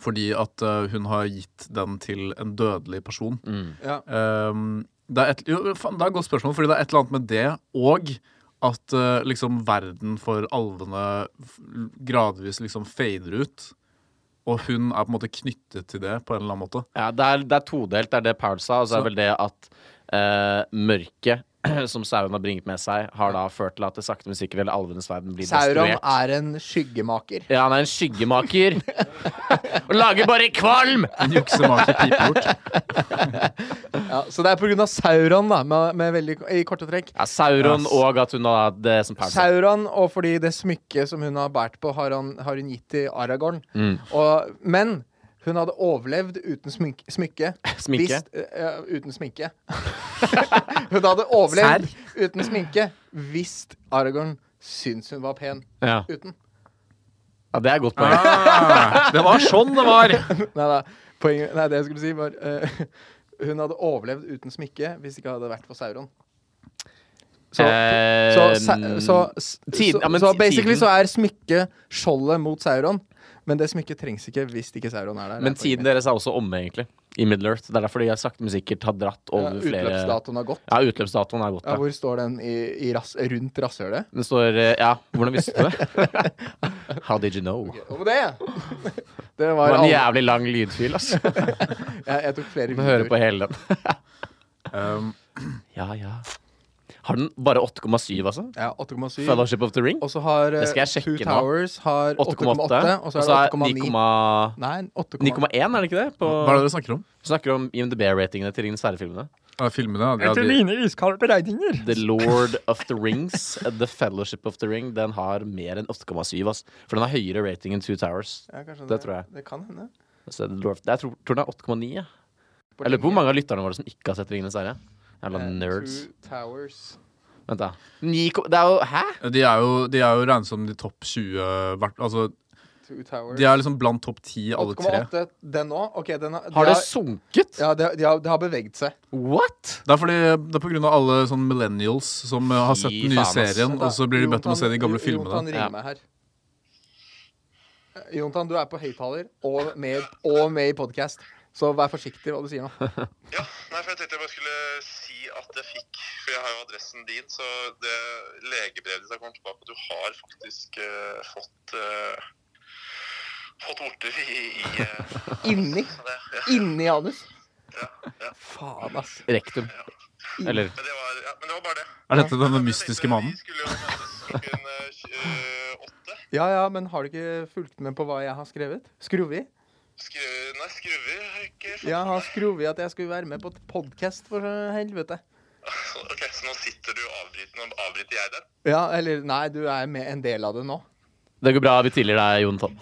[SPEAKER 3] Fordi at eh, hun har gitt den til en dødelig person.
[SPEAKER 1] ja.
[SPEAKER 3] Um, det, er et, jo, faen, det er et godt spørsmål, fordi det er et eller annet med det og at eh, liksom verden for alvene f- gradvis liksom fader ut. Og hun er på en måte knyttet til det på en eller annen måte.
[SPEAKER 2] Ja, det er, det er todelt. Det er det Paul sa, og så er
[SPEAKER 3] Så-
[SPEAKER 2] vel det at eh, mørket som sauen har bringet med seg, har da ført til at det sakte, men sikkert hele alvenes verden blir
[SPEAKER 1] Sauron
[SPEAKER 2] destruert.
[SPEAKER 1] er en skyggemaker.
[SPEAKER 2] Ja, han er en skyggemaker. Og lager bare kvalm!
[SPEAKER 3] En juksemaker pipehjort.
[SPEAKER 1] Ja, så det er pga. Sauron, da, med, med veldig, i korte trekk.
[SPEAKER 2] Ja, Sauron
[SPEAKER 3] Yes.
[SPEAKER 2] og at hun har det som
[SPEAKER 1] altså.
[SPEAKER 2] perle.
[SPEAKER 1] Sauron, og fordi det smykket som hun har båret på, har, han, har hun gitt til Aragorn. Og, men hun hadde overlevd uten smyk, smykke.
[SPEAKER 2] Sminke?
[SPEAKER 1] Hvis, eh, uten sminke. hun hadde overlevd uten sminke hvis Aragorn syntes hun var pen
[SPEAKER 2] Ja.
[SPEAKER 1] uten.
[SPEAKER 2] ja, det er et godt poeng.
[SPEAKER 3] Ah, det var sånn det var!
[SPEAKER 1] Nei da. Poenget Nei, det jeg skulle si, var eh, Hun hadde overlevd uten smykke hvis det ikke hadde vært for Sauron. Så,
[SPEAKER 2] Eh,
[SPEAKER 1] så, sa- så, s-
[SPEAKER 2] tiden- ja,
[SPEAKER 1] så,
[SPEAKER 2] men
[SPEAKER 1] så
[SPEAKER 2] ti-
[SPEAKER 1] basically
[SPEAKER 2] tiden-
[SPEAKER 1] så er smykket skjoldet mot Sauron. Men det smykket trengs ikke hvis ikke Sauron er der.
[SPEAKER 2] Men tiden deres er også omme, egentlig. I Middle Earth. Det er derfor de har sakte, men sikkert har dratt
[SPEAKER 1] over
[SPEAKER 2] over flere
[SPEAKER 1] Utløpsdatoen har gått.
[SPEAKER 2] Ja, utløpsdatoen er gått.
[SPEAKER 1] Ja,
[SPEAKER 2] Ja,
[SPEAKER 1] hvor står den i, i rass, rundt rasshølet?
[SPEAKER 2] Den står eh, Ja, hvordan visste du det? How did you know? Det
[SPEAKER 1] Og det! Det var
[SPEAKER 2] var en
[SPEAKER 1] alle. Jeg,
[SPEAKER 2] jævlig lang lydfil, altså.
[SPEAKER 1] jeg tok flere
[SPEAKER 2] Du må høre
[SPEAKER 1] videoer.
[SPEAKER 2] på hele den.
[SPEAKER 3] Um,
[SPEAKER 2] Ja, ja. Har den bare 8,7, altså?
[SPEAKER 1] Ja, 8,7.
[SPEAKER 2] Fellowship of the Ring?
[SPEAKER 1] Og så har
[SPEAKER 2] Det
[SPEAKER 1] eh,
[SPEAKER 2] skal jeg
[SPEAKER 1] Two
[SPEAKER 2] sjekke nå.
[SPEAKER 1] Towers har
[SPEAKER 2] 8,8.
[SPEAKER 1] 8,8. Og så er det 8,9.
[SPEAKER 2] 9,1,
[SPEAKER 1] Nei, 8,9.
[SPEAKER 2] er det ikke det? På,
[SPEAKER 3] hva er det dere snakker om?
[SPEAKER 2] Vi snakker om IMDb-ratingene til Ringenes herre-filmene.
[SPEAKER 3] Ja, filmene? Ja, de,
[SPEAKER 1] iskalde beregninger.
[SPEAKER 2] The Lord of the Rings, The Fellowship of the Ring, den har mer enn 8,7, ass. altså. For den har høyere rating enn Two Towers.
[SPEAKER 1] Ja, kanskje
[SPEAKER 2] Det tror jeg.
[SPEAKER 1] Det kan hende.
[SPEAKER 2] Så The Lord of, jeg tror, tror den er 8,9. jeg.
[SPEAKER 1] På
[SPEAKER 2] Jeg lurer på hvor
[SPEAKER 1] linje.
[SPEAKER 2] mange av lytterne våre som ikke har sett Ringenes herre. Jævla
[SPEAKER 1] Eh,
[SPEAKER 2] nerds.
[SPEAKER 1] Two Towers.
[SPEAKER 2] Vent, da. Ni ko- det er jo Hæ?
[SPEAKER 3] de er jo, de er jo regnet som de topp 20 hvert Altså,
[SPEAKER 1] Two Towers.
[SPEAKER 3] de er liksom blant topp 10 alle tre.
[SPEAKER 1] 8,8. Den òg? OK, den har, de
[SPEAKER 2] Har det
[SPEAKER 1] har-
[SPEAKER 2] sunket?
[SPEAKER 1] Ja, det de har, de har beveget seg.
[SPEAKER 2] What?
[SPEAKER 3] Det er fordi det er på grunn av alle sånne millennials som eh, har
[SPEAKER 2] Fy
[SPEAKER 3] sett den nye
[SPEAKER 2] faen, ass.
[SPEAKER 3] serien, og så blir de bedt om å se de gamle
[SPEAKER 1] Jontan
[SPEAKER 3] filmene.
[SPEAKER 1] ringer
[SPEAKER 2] Ja.
[SPEAKER 1] meg her. Eh, Jontan, du er på høyttaler og, med- og med i podkast, så vær forsiktig hva du sier nå.
[SPEAKER 4] Ja, nei, for jeg tenkte jeg bare skulle si at jeg fikk For jeg har jo adressen din, så det legebrevet ditt har kommet tilbake, og du har faktisk eh, fått eh, Fått vorter i, i eh,
[SPEAKER 1] Inni.
[SPEAKER 4] det. Ja,
[SPEAKER 1] Inni anus.
[SPEAKER 4] ja, ja.
[SPEAKER 1] Faen, ass.
[SPEAKER 2] Rektum. Eller
[SPEAKER 4] Men, det var, ja, men det var bare det.
[SPEAKER 3] Er dette den
[SPEAKER 4] Men jeg
[SPEAKER 3] mystiske
[SPEAKER 4] tenkte
[SPEAKER 3] mannen?
[SPEAKER 4] Vi skulle jo møtes klokken eh, tj- eh, åtte.
[SPEAKER 1] Ja ja, men har du ikke fulgt med på hva jeg har skrevet? Skrovi?
[SPEAKER 4] Skru, nei, skruver har jeg ikke fått
[SPEAKER 1] Jeg har
[SPEAKER 4] med.
[SPEAKER 1] skrovi at jeg skulle være med på et podkast, for helvete.
[SPEAKER 4] Så- Ok, Så nå sitter du og avbryter, nå avbryter jeg den?
[SPEAKER 1] Ja, eller nei, du er med en del av det nå.
[SPEAKER 2] Det går bra. Vi tilgir deg, Jon Tom.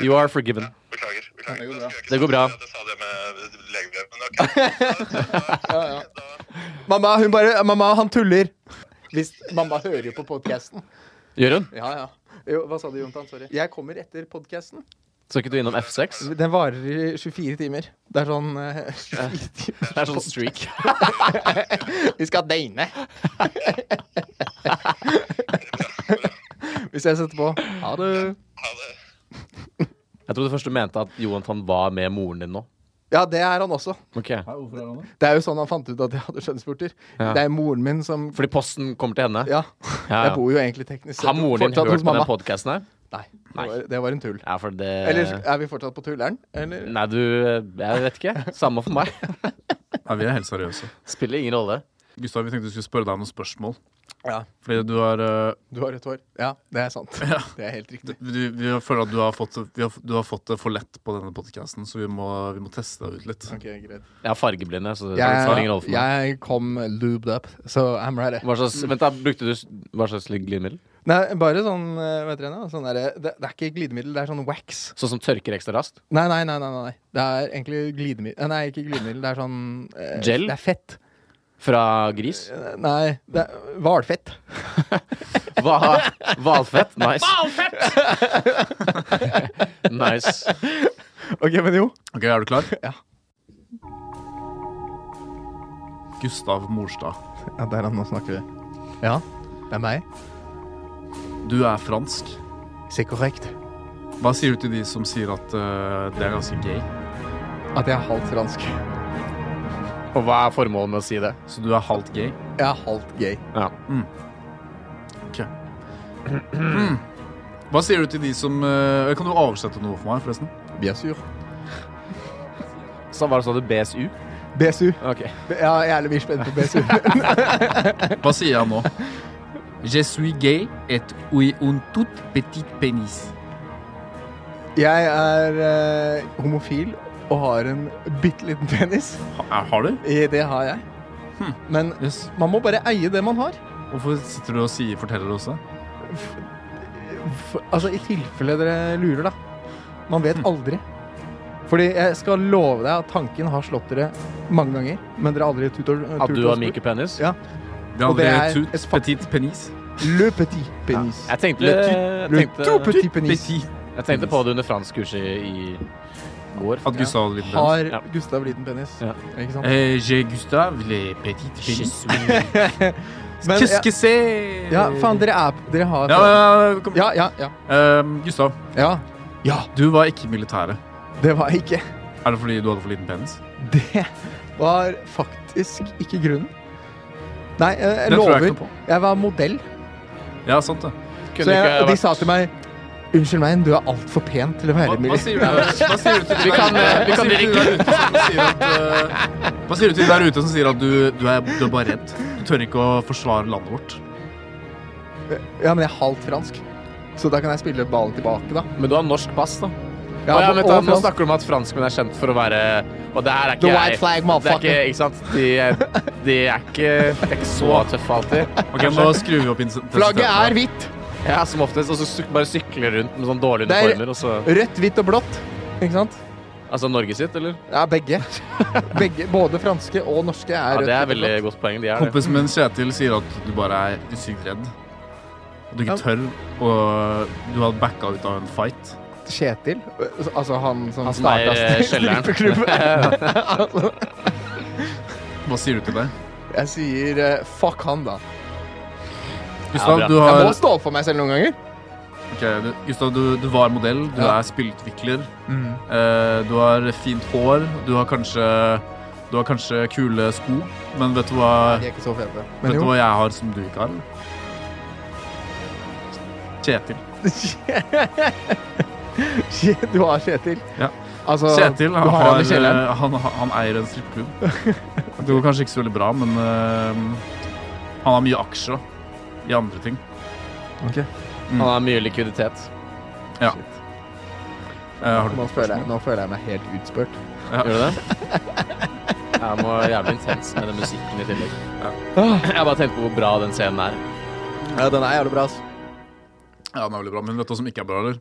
[SPEAKER 2] You are forgiven.
[SPEAKER 4] Beklager. beklager.
[SPEAKER 3] Det går
[SPEAKER 4] Da
[SPEAKER 3] bra.
[SPEAKER 4] skulle jeg ikke
[SPEAKER 2] Det går
[SPEAKER 4] sagt
[SPEAKER 2] bra.
[SPEAKER 4] at Jeg sa det med legebrev, men OK. Da,
[SPEAKER 1] Ja, ja.
[SPEAKER 4] da,
[SPEAKER 1] Mamma, hun bare Mamma, han tuller. Hvis Mamma hører jo på podkasten.
[SPEAKER 2] Gjør hun?
[SPEAKER 1] Ja, ja. Jo, hva sa du, Jontan? Sorry. Jeg kommer etter podkasten.
[SPEAKER 2] Skal ikke du innom F6?
[SPEAKER 1] Den varer i 24 timer. Det er sånn eh, 24 timer.
[SPEAKER 2] Det er sånn streak.
[SPEAKER 1] Vi skal dine. Hvis jeg setter på Ha det.
[SPEAKER 4] ha det.
[SPEAKER 2] Jeg trodde først du mente at Johan var med moren din nå.
[SPEAKER 1] Ja, det er han også.
[SPEAKER 2] Ok
[SPEAKER 1] Det er jo sånn han fant ut at jeg hadde skjønnsporter.
[SPEAKER 2] Ja.
[SPEAKER 1] Det er moren min som
[SPEAKER 2] Fordi posten kommer til henne?
[SPEAKER 1] Ja.
[SPEAKER 2] Ja, ja.
[SPEAKER 1] Jeg bor jo egentlig teknisk
[SPEAKER 2] Har moren din
[SPEAKER 1] fortsatt
[SPEAKER 2] hørt
[SPEAKER 1] hos
[SPEAKER 2] på den
[SPEAKER 1] mamma.
[SPEAKER 2] podkasten her?
[SPEAKER 1] Nei. Det
[SPEAKER 2] Nei. Eh.
[SPEAKER 1] var- Det var en tull.
[SPEAKER 2] Ja, for det
[SPEAKER 1] Eller er vi fortsatt på tulleren? Eller?
[SPEAKER 2] Nei, du Jeg vet ikke. Samme for meg.
[SPEAKER 3] Nei, vi er helt seriøse.
[SPEAKER 2] Spiller ingen rolle.
[SPEAKER 3] Gustav, vi tenkte vi skulle spørre deg noen spørsmål.
[SPEAKER 1] Ja.
[SPEAKER 3] Fordi du har eh,
[SPEAKER 1] Du har rødt hår. Ja, det er sant.
[SPEAKER 3] Ja.
[SPEAKER 1] Det er helt riktig.
[SPEAKER 3] du, Vi føler at du har fått, vi har, du har fått det for lett på denne podkasten, så vi må, vi må teste deg ut litt.
[SPEAKER 1] Ok, greit.
[SPEAKER 2] Jeg er sånn fargeblind, jeg, så det spiller ingen rolle
[SPEAKER 1] Jeg,
[SPEAKER 2] for meg.
[SPEAKER 1] jeg kom lubed up, så I'm ready.
[SPEAKER 2] Hva slags, vent da, Brukte du s- hva slags glidemiddel?
[SPEAKER 1] Nei, bare sånn, eh, vet dere nå, sånn derre- det, det er ikke glidemiddel, det er sånn wax.
[SPEAKER 2] Sånn som tørker ekstra raskt?
[SPEAKER 1] Nei, nei, nei. nei, nei. nei. Det er egentlig glidemiddel Nei, ikke glidemiddel, det er sånn eh,
[SPEAKER 2] Gel?
[SPEAKER 1] Det er fett.
[SPEAKER 2] Fra gris?
[SPEAKER 1] Eh, Nei, det er hvalfett.
[SPEAKER 2] Hva, hvalfett? Nice. nice.
[SPEAKER 1] OK, men jo.
[SPEAKER 3] Ok, Er du klar?
[SPEAKER 1] Ja.
[SPEAKER 3] Gustav Morstad,
[SPEAKER 1] Ja, Der, nå snakker vi. Ja, det er meg.
[SPEAKER 3] du er fransk.
[SPEAKER 1] Si korrekt.
[SPEAKER 3] Hva sier du til de som sier at eh, det er ganske gay?
[SPEAKER 1] At jeg er halvt fransk.
[SPEAKER 2] Og hva er formålet med å si det?
[SPEAKER 3] Så du er halvt gay?
[SPEAKER 1] Jeg er halvt gay.
[SPEAKER 2] Ja.
[SPEAKER 3] Hva sier du til de som eh, Kan du oversette noe for meg, forresten?
[SPEAKER 1] Bien sûr.
[SPEAKER 2] Så var det sånn at BSU?
[SPEAKER 1] BSU.
[SPEAKER 2] Ok.
[SPEAKER 1] Ja, jeg er litt mer spent på BSU.
[SPEAKER 3] Hva sier han nå? Je suis gay et oui un tout petit penis.
[SPEAKER 1] Jeg er eh, homofil og har en bitte liten penis.
[SPEAKER 3] Ha, eh, har du?
[SPEAKER 1] I det har jeg.
[SPEAKER 2] Hm.
[SPEAKER 1] Men
[SPEAKER 3] Yes.
[SPEAKER 1] man må bare eie det man har.
[SPEAKER 3] Hvorfor sitter du og sier, forteller det også?
[SPEAKER 1] F- altså, I tilfelle dere lurer, da. Man
[SPEAKER 2] Hm.
[SPEAKER 1] vet aldri. Fordi jeg skal love deg at tanken har slått dere mange ganger, men dere har aldri turt å
[SPEAKER 2] At du har
[SPEAKER 1] spurt.
[SPEAKER 2] mikropenis?
[SPEAKER 1] Ja.
[SPEAKER 3] Det er
[SPEAKER 1] Og det
[SPEAKER 3] aldri
[SPEAKER 1] er
[SPEAKER 3] tout
[SPEAKER 1] et fakt-
[SPEAKER 3] petit penis.
[SPEAKER 1] Le petit penis.
[SPEAKER 2] Jeg tenkte,
[SPEAKER 1] Le
[SPEAKER 2] jeg
[SPEAKER 1] Le tout
[SPEAKER 2] tenkte,
[SPEAKER 1] petit penis
[SPEAKER 3] Petit.
[SPEAKER 2] jeg tenkte på det under franskkurset i går.
[SPEAKER 3] At Gustav hadde liten
[SPEAKER 1] har
[SPEAKER 3] penis.
[SPEAKER 2] Ja.
[SPEAKER 1] Gustav liten penis.
[SPEAKER 2] Ja.
[SPEAKER 1] Ikke sant?
[SPEAKER 3] Eh, J'ai Gustav le petit penis.
[SPEAKER 1] Men
[SPEAKER 3] Qu'est-ce
[SPEAKER 1] jeg-
[SPEAKER 3] que c'est?
[SPEAKER 1] ja, faen, dere er Dere har
[SPEAKER 3] Ja, ja, ja, kom.
[SPEAKER 1] ja, ja, ja.
[SPEAKER 3] Ehm, Gustav,
[SPEAKER 1] ja.
[SPEAKER 3] du var ikke i militæret.
[SPEAKER 1] Det var ikke
[SPEAKER 3] Er det fordi du hadde for liten penis?
[SPEAKER 1] Det var faktisk ikke grunnen. Nei, jeg, jeg
[SPEAKER 3] Det tror jeg
[SPEAKER 1] lover.
[SPEAKER 3] ikke
[SPEAKER 1] Jeg,
[SPEAKER 3] noe på.
[SPEAKER 1] var modell,
[SPEAKER 3] Ja, sant det.
[SPEAKER 2] Kunne
[SPEAKER 1] så jeg,
[SPEAKER 2] ikke
[SPEAKER 1] og de
[SPEAKER 2] vært-
[SPEAKER 1] sa til meg Unnskyld meg, du er altfor pen til å
[SPEAKER 3] Hva,
[SPEAKER 1] være
[SPEAKER 3] hva,
[SPEAKER 1] militær.
[SPEAKER 3] sier, du, hva sier du til de
[SPEAKER 2] Vi kan, eh,
[SPEAKER 3] der-
[SPEAKER 2] vi
[SPEAKER 3] hva
[SPEAKER 2] kan
[SPEAKER 3] sier du til de der ute som sier at, eh, Hva sier du til de der ute som sier at du, du, er, du er bare redd? Du tør ikke å forsvare landet vårt.
[SPEAKER 1] Ja, men jeg er halvt fransk, så da kan jeg spille ballen tilbake, da.
[SPEAKER 2] Men du har norsk pass, da.
[SPEAKER 1] Ja,
[SPEAKER 2] Å ja,
[SPEAKER 1] og-
[SPEAKER 2] men da,
[SPEAKER 1] og
[SPEAKER 2] nå
[SPEAKER 1] fransk.
[SPEAKER 2] snakker du om at franskmenn er kjent for å være Og det her er ikke
[SPEAKER 1] The
[SPEAKER 2] jeg.
[SPEAKER 1] white flag,
[SPEAKER 2] det er ikke,
[SPEAKER 1] motherfucker.
[SPEAKER 2] ikke sant? De, er- de er ikke, de er ikke så tøffe alltid.
[SPEAKER 3] Ok, Nå skrur vi opp intens-
[SPEAKER 1] Flagget
[SPEAKER 3] intensiteten.
[SPEAKER 1] er hvitt.
[SPEAKER 2] Ja, som oftest. Og så syk- bare sykler rundt med sånn dårlige
[SPEAKER 1] Det er-
[SPEAKER 2] uniformer. Og så,
[SPEAKER 1] Rødt, hvitt og blått. Ikke sant?
[SPEAKER 2] altså Norge sitt, eller?
[SPEAKER 1] Ja, begge. begge. Både franske og norske er
[SPEAKER 2] Ja,
[SPEAKER 1] rødt.
[SPEAKER 2] det er
[SPEAKER 1] hvitt og
[SPEAKER 2] veldig
[SPEAKER 1] blått.
[SPEAKER 2] godt poeng. De er det.
[SPEAKER 3] Kompisen min Kjetil sier at du bare er sykt redd. Og du ikke tør, og du hadde backa ut av en fight.
[SPEAKER 1] Kjetil, altså han som
[SPEAKER 2] Han som eier, eh,
[SPEAKER 1] startet
[SPEAKER 2] kjelleren.
[SPEAKER 1] strippeklubben.
[SPEAKER 3] Hva sier du til det?
[SPEAKER 1] Jeg sier eh, fuck han, da.
[SPEAKER 3] Gustav,
[SPEAKER 2] Ja, bra.
[SPEAKER 3] du
[SPEAKER 1] Jeg
[SPEAKER 3] har
[SPEAKER 1] må stå opp for meg selv noen ganger.
[SPEAKER 3] Ok, du, Gustav, du, du var modell, du
[SPEAKER 1] Ja. Mm.
[SPEAKER 3] er spillutvikler, eh, du har fint hår, du har kanskje, du har kanskje kule sko, men vet du hva,
[SPEAKER 1] De er ikke så fete.
[SPEAKER 3] vet
[SPEAKER 1] Men
[SPEAKER 3] du
[SPEAKER 1] jo.
[SPEAKER 3] hva jeg har som du ikke har? Kjetil.
[SPEAKER 1] Shit, du har Kjetil.
[SPEAKER 3] Ja.
[SPEAKER 1] Altså,
[SPEAKER 3] Kjetil
[SPEAKER 1] du
[SPEAKER 3] han,
[SPEAKER 1] har han i
[SPEAKER 3] har,
[SPEAKER 1] kjelleren.
[SPEAKER 3] eh, han, han eier en strippeklubb. Det går kanskje ikke så veldig bra, men eh, han har mye aksjer da, i andre ting.
[SPEAKER 1] eh,
[SPEAKER 2] Han har mye likviditet.
[SPEAKER 3] Ja.
[SPEAKER 1] Shit.
[SPEAKER 3] Eh, har du
[SPEAKER 1] Nå føler, jeg, nå føler jeg meg helt utspurt.
[SPEAKER 2] Gjør du det? Jeg må jævlig intens med den musikken i tillegg.
[SPEAKER 1] Ah,
[SPEAKER 2] Jeg bare tenkte på hvor bra den scenen er.
[SPEAKER 1] Ja, den er jævlig bra, ass.
[SPEAKER 3] Ja, den er veldig bra, men vet du hva som ikke er bra, eller?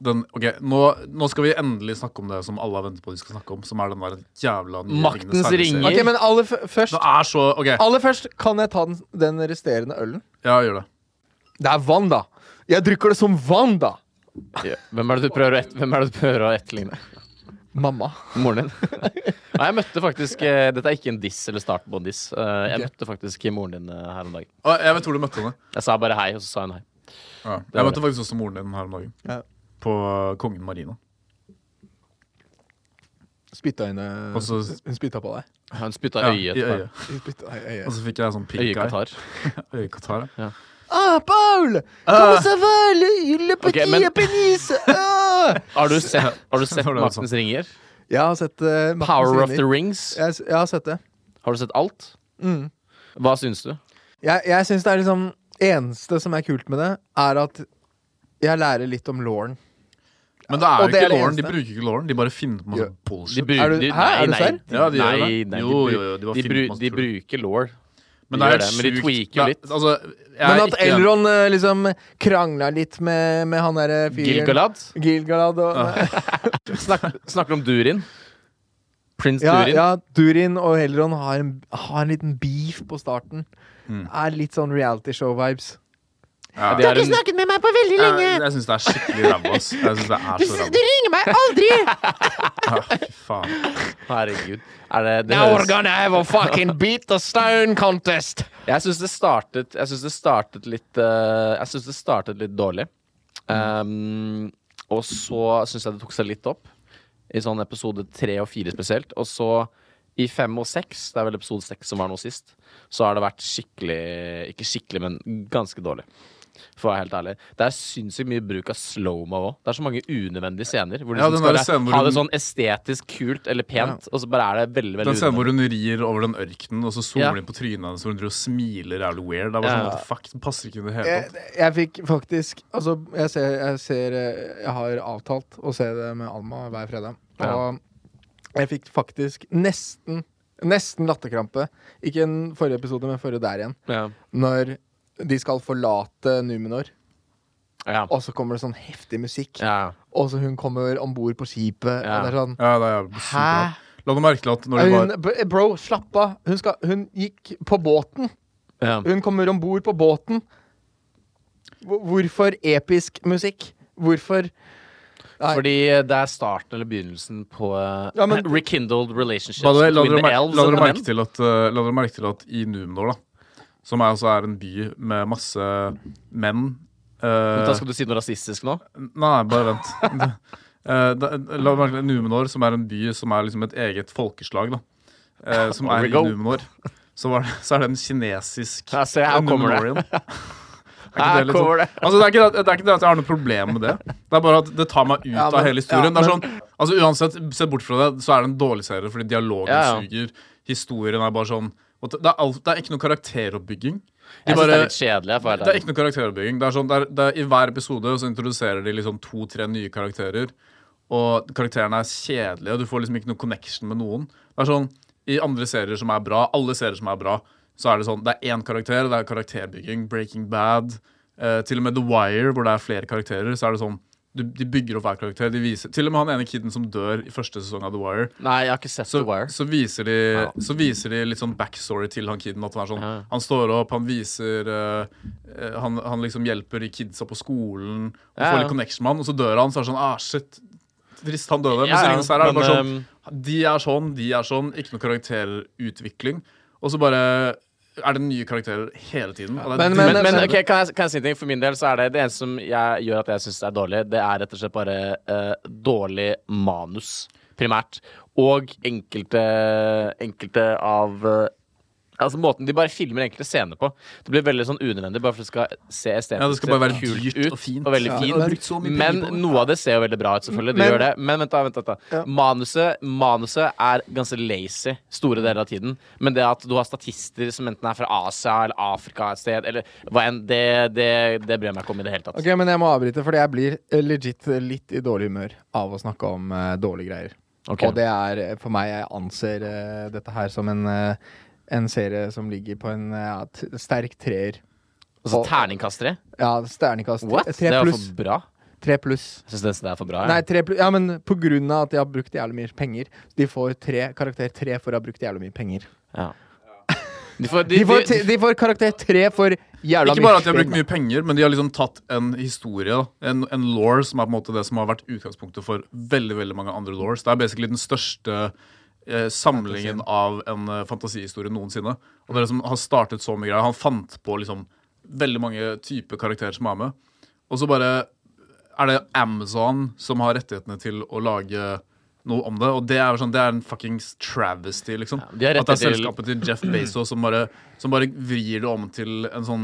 [SPEAKER 3] Den, ok, nå, nå skal vi endelig snakke om det som alle har ventet på de skal snakke om, som er den der jævla nye
[SPEAKER 2] Maktens
[SPEAKER 3] Ringenes herre-serien.
[SPEAKER 2] ringer.
[SPEAKER 1] Ok, men aller f først
[SPEAKER 3] Det er så OK,
[SPEAKER 1] Aller først, kan jeg ta den, den resterende ølen?
[SPEAKER 3] ja, gjør det.
[SPEAKER 1] Det er vann, da! Jeg drikker det som vann, da!
[SPEAKER 2] Ja. Hvem er det du prøver å, et, hvem er det du prøver å etterligne?
[SPEAKER 1] Mamma.
[SPEAKER 2] Moren din? Nei, jeg møtte faktisk eh, Dette er ikke en diss eller starten på en diss. Eh, jeg møtte faktisk moren din eh, her om dagen.
[SPEAKER 3] Å, jeg vet hvor du møtte henne.
[SPEAKER 2] Jeg sa bare hei, og så sa hun hei.
[SPEAKER 3] Ja.
[SPEAKER 2] var
[SPEAKER 3] Jeg møtte faktisk også moren din her om dagen.
[SPEAKER 1] Ja.
[SPEAKER 3] På Kongen Marina.
[SPEAKER 1] Spytta henne
[SPEAKER 3] Og så-
[SPEAKER 1] eh, Hun spytta på deg.
[SPEAKER 2] Hun spytta
[SPEAKER 3] Ja,
[SPEAKER 2] øyet
[SPEAKER 3] i
[SPEAKER 2] på meg.
[SPEAKER 3] øyet.
[SPEAKER 1] Hun spytta i øyet.
[SPEAKER 3] Og så fikk jeg sånn pink eye.
[SPEAKER 2] Øyekatarr.
[SPEAKER 3] Øyekatarr. ja.
[SPEAKER 1] Ah, Paul! Comment ça va? Le, le
[SPEAKER 2] Ok, men-
[SPEAKER 1] pénis! Ah!
[SPEAKER 2] Har du sett, har du sett
[SPEAKER 3] var det hun sa.
[SPEAKER 2] Maktens ringer?
[SPEAKER 1] Jeg har sett eh, Maktens
[SPEAKER 2] Power of
[SPEAKER 1] Ringer.
[SPEAKER 2] the Rings?
[SPEAKER 1] Jeg, s- jeg har sett det.
[SPEAKER 2] Har du sett alt?
[SPEAKER 1] Mm.
[SPEAKER 2] Hva syns du?
[SPEAKER 1] Jeg, jeg syns det er liksom eneste som er kult med det, er at jeg lærer litt om lauren.
[SPEAKER 3] Men det er
[SPEAKER 1] Og
[SPEAKER 3] jo
[SPEAKER 1] det er
[SPEAKER 3] ikke
[SPEAKER 1] det
[SPEAKER 3] Lauren. De
[SPEAKER 1] eneste.
[SPEAKER 3] bruker ikke Lauren. De bare finner på masse
[SPEAKER 1] Jo.
[SPEAKER 2] De
[SPEAKER 3] bullshit.
[SPEAKER 2] bru-
[SPEAKER 1] Er du-
[SPEAKER 2] de-
[SPEAKER 1] Hæ? Er du
[SPEAKER 2] nei,
[SPEAKER 1] serr?
[SPEAKER 2] nei,
[SPEAKER 3] Ja, de gjør
[SPEAKER 2] nei,
[SPEAKER 3] det.
[SPEAKER 2] nei,
[SPEAKER 3] Jo,
[SPEAKER 2] de,
[SPEAKER 3] jo, jo, de
[SPEAKER 2] bru-
[SPEAKER 3] var
[SPEAKER 2] de,
[SPEAKER 3] fint
[SPEAKER 2] bru,
[SPEAKER 3] masse
[SPEAKER 2] de
[SPEAKER 3] tull.
[SPEAKER 2] bruker law.
[SPEAKER 3] men
[SPEAKER 2] de
[SPEAKER 3] det
[SPEAKER 2] gjør
[SPEAKER 3] er
[SPEAKER 2] det,
[SPEAKER 3] helt
[SPEAKER 2] men de
[SPEAKER 3] sjukt.
[SPEAKER 2] tweaker
[SPEAKER 3] Det er-
[SPEAKER 2] litt.
[SPEAKER 3] Altså, jeg
[SPEAKER 1] Men
[SPEAKER 3] er
[SPEAKER 1] at
[SPEAKER 3] ikke enig.
[SPEAKER 1] Elron eh, liksom krangla litt med, med han derre fyren
[SPEAKER 2] Gilgalad Ah.
[SPEAKER 1] Gilgalad og
[SPEAKER 2] Snak, snakker om Durin. Prins
[SPEAKER 1] ja,
[SPEAKER 2] Durin.
[SPEAKER 1] ja, Durin og Elron har en, har en liten beef på starten.
[SPEAKER 2] Mm.
[SPEAKER 1] Er litt sånn reality show-vibes.
[SPEAKER 3] Ja.
[SPEAKER 2] Det er en,
[SPEAKER 5] snakket med meg på veldig lenge.
[SPEAKER 3] Jeg, jeg syns det er skikkelig ræva, ass. Jeg synes det er
[SPEAKER 5] Du,
[SPEAKER 3] så
[SPEAKER 5] du
[SPEAKER 3] ræva.
[SPEAKER 5] ringer meg aldri!
[SPEAKER 3] Ja, fy faen.
[SPEAKER 2] herregud. Er det, det høres
[SPEAKER 5] gonna have a fucking beat the stone contest.
[SPEAKER 2] Jeg syns det startet Jeg synes det startet litt eh, Jeg synes det startet litt dårlig.
[SPEAKER 3] Mm.
[SPEAKER 2] Um, og så syns jeg det tok seg litt opp. I sånn episode tre og fire spesielt. Og så i fem og seks, det er vel episode seks som var nå sist, så har det vært skikkelig Ikke skikkelig, men ganske dårlig. For å være helt ærlig Det er sinnssykt mye bruk av slow-mo òg. Det er så mange unødvendige scener. Hvor du
[SPEAKER 3] Ja,
[SPEAKER 2] liksom
[SPEAKER 3] den der
[SPEAKER 2] skal
[SPEAKER 3] scenen hvor
[SPEAKER 2] ha det
[SPEAKER 3] hun-
[SPEAKER 2] sånn estetisk kult eller pent, og så bare er det veldig veldig
[SPEAKER 3] Den scenen
[SPEAKER 2] unødvendig.
[SPEAKER 3] hvor hun rir over den ørkenen, og så
[SPEAKER 2] Ja.
[SPEAKER 3] zoomer de inn på trynet hennes og hun driver og smiler jævlig weird. Det er bare sånn,
[SPEAKER 2] Ja.
[SPEAKER 3] what the fuck, det passer ikke i det hele tatt.
[SPEAKER 6] Jeg, jeg fikk faktisk Altså, jeg ser, jeg ser eh, Jeg har avtalt å se det med Alma hver fredag. Og
[SPEAKER 2] Ja.
[SPEAKER 6] jeg fikk faktisk nesten Nesten latterkrampe. Ikke en forrige episode, men forrige der igjen.
[SPEAKER 2] Ja.
[SPEAKER 6] Når de skal forlate Numenor,
[SPEAKER 2] Ja.
[SPEAKER 6] og så kommer det sånn heftig musikk.
[SPEAKER 2] Ja.
[SPEAKER 6] Og så hun kommer om bord på skipet,
[SPEAKER 2] Ja.
[SPEAKER 6] og det er sånn
[SPEAKER 3] Ja, det er jævlig
[SPEAKER 6] Hæ?
[SPEAKER 3] superbra. La du merke til at når de
[SPEAKER 6] Hun,
[SPEAKER 3] var
[SPEAKER 6] b- bro, slapp av. Hun, skal, hun gikk på båten.
[SPEAKER 2] Ja.
[SPEAKER 6] Hun kommer om bord på båten. Hvor- Hvorfor episk musikk? Hvorfor Nei.
[SPEAKER 2] Fordi eh, det er starten eller begynnelsen på eh,
[SPEAKER 6] Ja, men-
[SPEAKER 2] rekindled relationships
[SPEAKER 3] By the way, la
[SPEAKER 2] between
[SPEAKER 3] dere, mer
[SPEAKER 2] the elves
[SPEAKER 3] la dere
[SPEAKER 2] and the
[SPEAKER 3] merke
[SPEAKER 2] men.
[SPEAKER 3] til at, eh, la dere merke til at i Numenor, da, som er, altså er en by med masse menn eh,
[SPEAKER 2] Da skal du si noe rasistisk nå?
[SPEAKER 3] Nei, bare vent. Eh, da, la meg merke til Numenor, som er en by som er liksom et eget folkeslag, da. eh, som
[SPEAKER 2] Here
[SPEAKER 3] er
[SPEAKER 2] we
[SPEAKER 3] i
[SPEAKER 2] go.
[SPEAKER 3] Numenor. Så, var det, så er det en kinesisk
[SPEAKER 2] Ja, se, her kommer det.
[SPEAKER 3] Numenorian. Er ikke
[SPEAKER 2] Her
[SPEAKER 3] litt
[SPEAKER 2] kommer det.
[SPEAKER 3] sånn- Altså, det, er ikke, det, det er ikke det at jeg har noe problem med det. Det er bare at det tar meg ut
[SPEAKER 6] Ja, men-
[SPEAKER 3] av hele historien.
[SPEAKER 6] ja,
[SPEAKER 3] det er sånn, altså Uansett, se bort fra det, så er det en dårlig serie, fordi dialogen
[SPEAKER 2] Ja, ja.
[SPEAKER 3] suger. Historien er bare sånn og det, det, er alt, det er ikke noe karakteroppbygging. De
[SPEAKER 2] Jeg synes det
[SPEAKER 3] bare-
[SPEAKER 2] er litt kjedelig. jeg, for å være
[SPEAKER 3] det er
[SPEAKER 2] ærlig.
[SPEAKER 3] ikke noe karakteroppbygging. Det er sånn, det er, det er, I hver episode så introduserer de liksom to-tre nye karakterer. Og karakterene er kjedelige, og du får liksom ikke noe connection med noen. Det er sånn, I andre serier som er bra, alle serier som er bra, så er det sånn, det er én karakter, det er karakterbygging. Breaking Bad. Eh, til og med The Wire, hvor det er flere karakterer, så er det sånn du, De bygger opp hver karakter. De viser, til og med han ene kiden som dør i første sesong av The Wire,
[SPEAKER 2] Nei, jeg har ikke sett
[SPEAKER 3] så,
[SPEAKER 2] The Wire.
[SPEAKER 3] så, viser de, så viser de litt sånn backstory til han kiden. At han, er sånn,
[SPEAKER 2] Ja.
[SPEAKER 3] han står opp, han viser eh, eh, han, han liksom hjelper de kidsa på skolen, og
[SPEAKER 2] Ja,
[SPEAKER 3] får
[SPEAKER 2] ja.
[SPEAKER 3] litt connection med han, og så dør han. Så er det sånn ah, shit, trist, han døde. Men
[SPEAKER 2] Ja,
[SPEAKER 3] så
[SPEAKER 2] ja,
[SPEAKER 3] lenge så er det
[SPEAKER 2] men, ehm,
[SPEAKER 3] bare sånn De er sånn, de er sånn. Ikke noe karakterutvikling. Og så bare er det nye karakterer hele tiden. Og det er
[SPEAKER 6] Men- men-
[SPEAKER 2] Men,
[SPEAKER 3] dritt-
[SPEAKER 2] men
[SPEAKER 6] men-
[SPEAKER 2] ok, kan, jeg, kan jeg si en ting? For min del så er det det eneste som jeg, gjør at jeg syns det er dårlig, det er rett og slett bare eh, dårlig manus, primært. Og enkelte, enkelte av eh, Altså måten De bare filmer enkelte scener på. Det blir veldig sånn unødvendig, bare for det skal se estetisk
[SPEAKER 3] Ja, det skal bare være
[SPEAKER 2] kult
[SPEAKER 3] dyrt
[SPEAKER 2] ut,
[SPEAKER 3] og fint.
[SPEAKER 2] Og veldig
[SPEAKER 3] Ja,
[SPEAKER 2] fint.
[SPEAKER 3] det er brukt så mye penger
[SPEAKER 2] men
[SPEAKER 3] på det.
[SPEAKER 2] noe av det ser jo veldig bra ut, selvfølgelig. Det
[SPEAKER 6] Men-
[SPEAKER 2] gjør det. Eh, Men vent, da. vent, vent da.
[SPEAKER 6] Ja.
[SPEAKER 2] Manuset, manuset er ganske lazy store deler av tiden. Men det at du har statister som enten er fra Asia eller Afrika et sted, eller hva enn, det, det, det bryr jeg meg ikke om i det hele tatt.
[SPEAKER 6] Ok, men jeg må avbryte, fordi jeg blir eh, legit litt i dårlig humør av å snakke om eh, dårlige greier.
[SPEAKER 2] Ok.
[SPEAKER 6] Og det er eh, for meg Jeg anser eh, dette her som en, eh, en serie som ligger på en eh, t sterk treer.
[SPEAKER 2] Altså
[SPEAKER 6] Og-
[SPEAKER 2] terningkastere?
[SPEAKER 6] Ja, sternekast
[SPEAKER 2] What?
[SPEAKER 6] tre-
[SPEAKER 2] Det er
[SPEAKER 6] tre
[SPEAKER 2] jo
[SPEAKER 6] pluss.
[SPEAKER 2] for bra.
[SPEAKER 6] Tre pluss.
[SPEAKER 2] Jeg syns nesten det er for bra. jeg.
[SPEAKER 6] Nei, tre pluss. Ja, men på grunn av at de har brukt jævlig mye penger. De får tre, karakter tre for å ha brukt jævlig mye penger.
[SPEAKER 2] Ja. De får, de,
[SPEAKER 6] De får,
[SPEAKER 2] de,
[SPEAKER 6] te- de får karakter tre for jævla
[SPEAKER 3] Ikke bare at de har
[SPEAKER 6] spenn.
[SPEAKER 3] brukt mye penger, men de har liksom tatt en historie, da. en, en law, som er på en måte det som har vært utgangspunktet for veldig veldig mange andre laws. Det er basically den største eh, samlingen av en eh, fantasihistorie noensinne. Og det er det som har startet så mye greier. Han fant på liksom veldig mange typer karakterer som er med. Og så bare er det Amazon som har rettighetene til å lage noe om det, og det er, jo sånn, det er en fuckings travesty, liksom.
[SPEAKER 2] de
[SPEAKER 3] At det er
[SPEAKER 2] har rettigheter til-
[SPEAKER 3] selskapet til Jeff Bezos som bare, som bare vrir det om til en sånn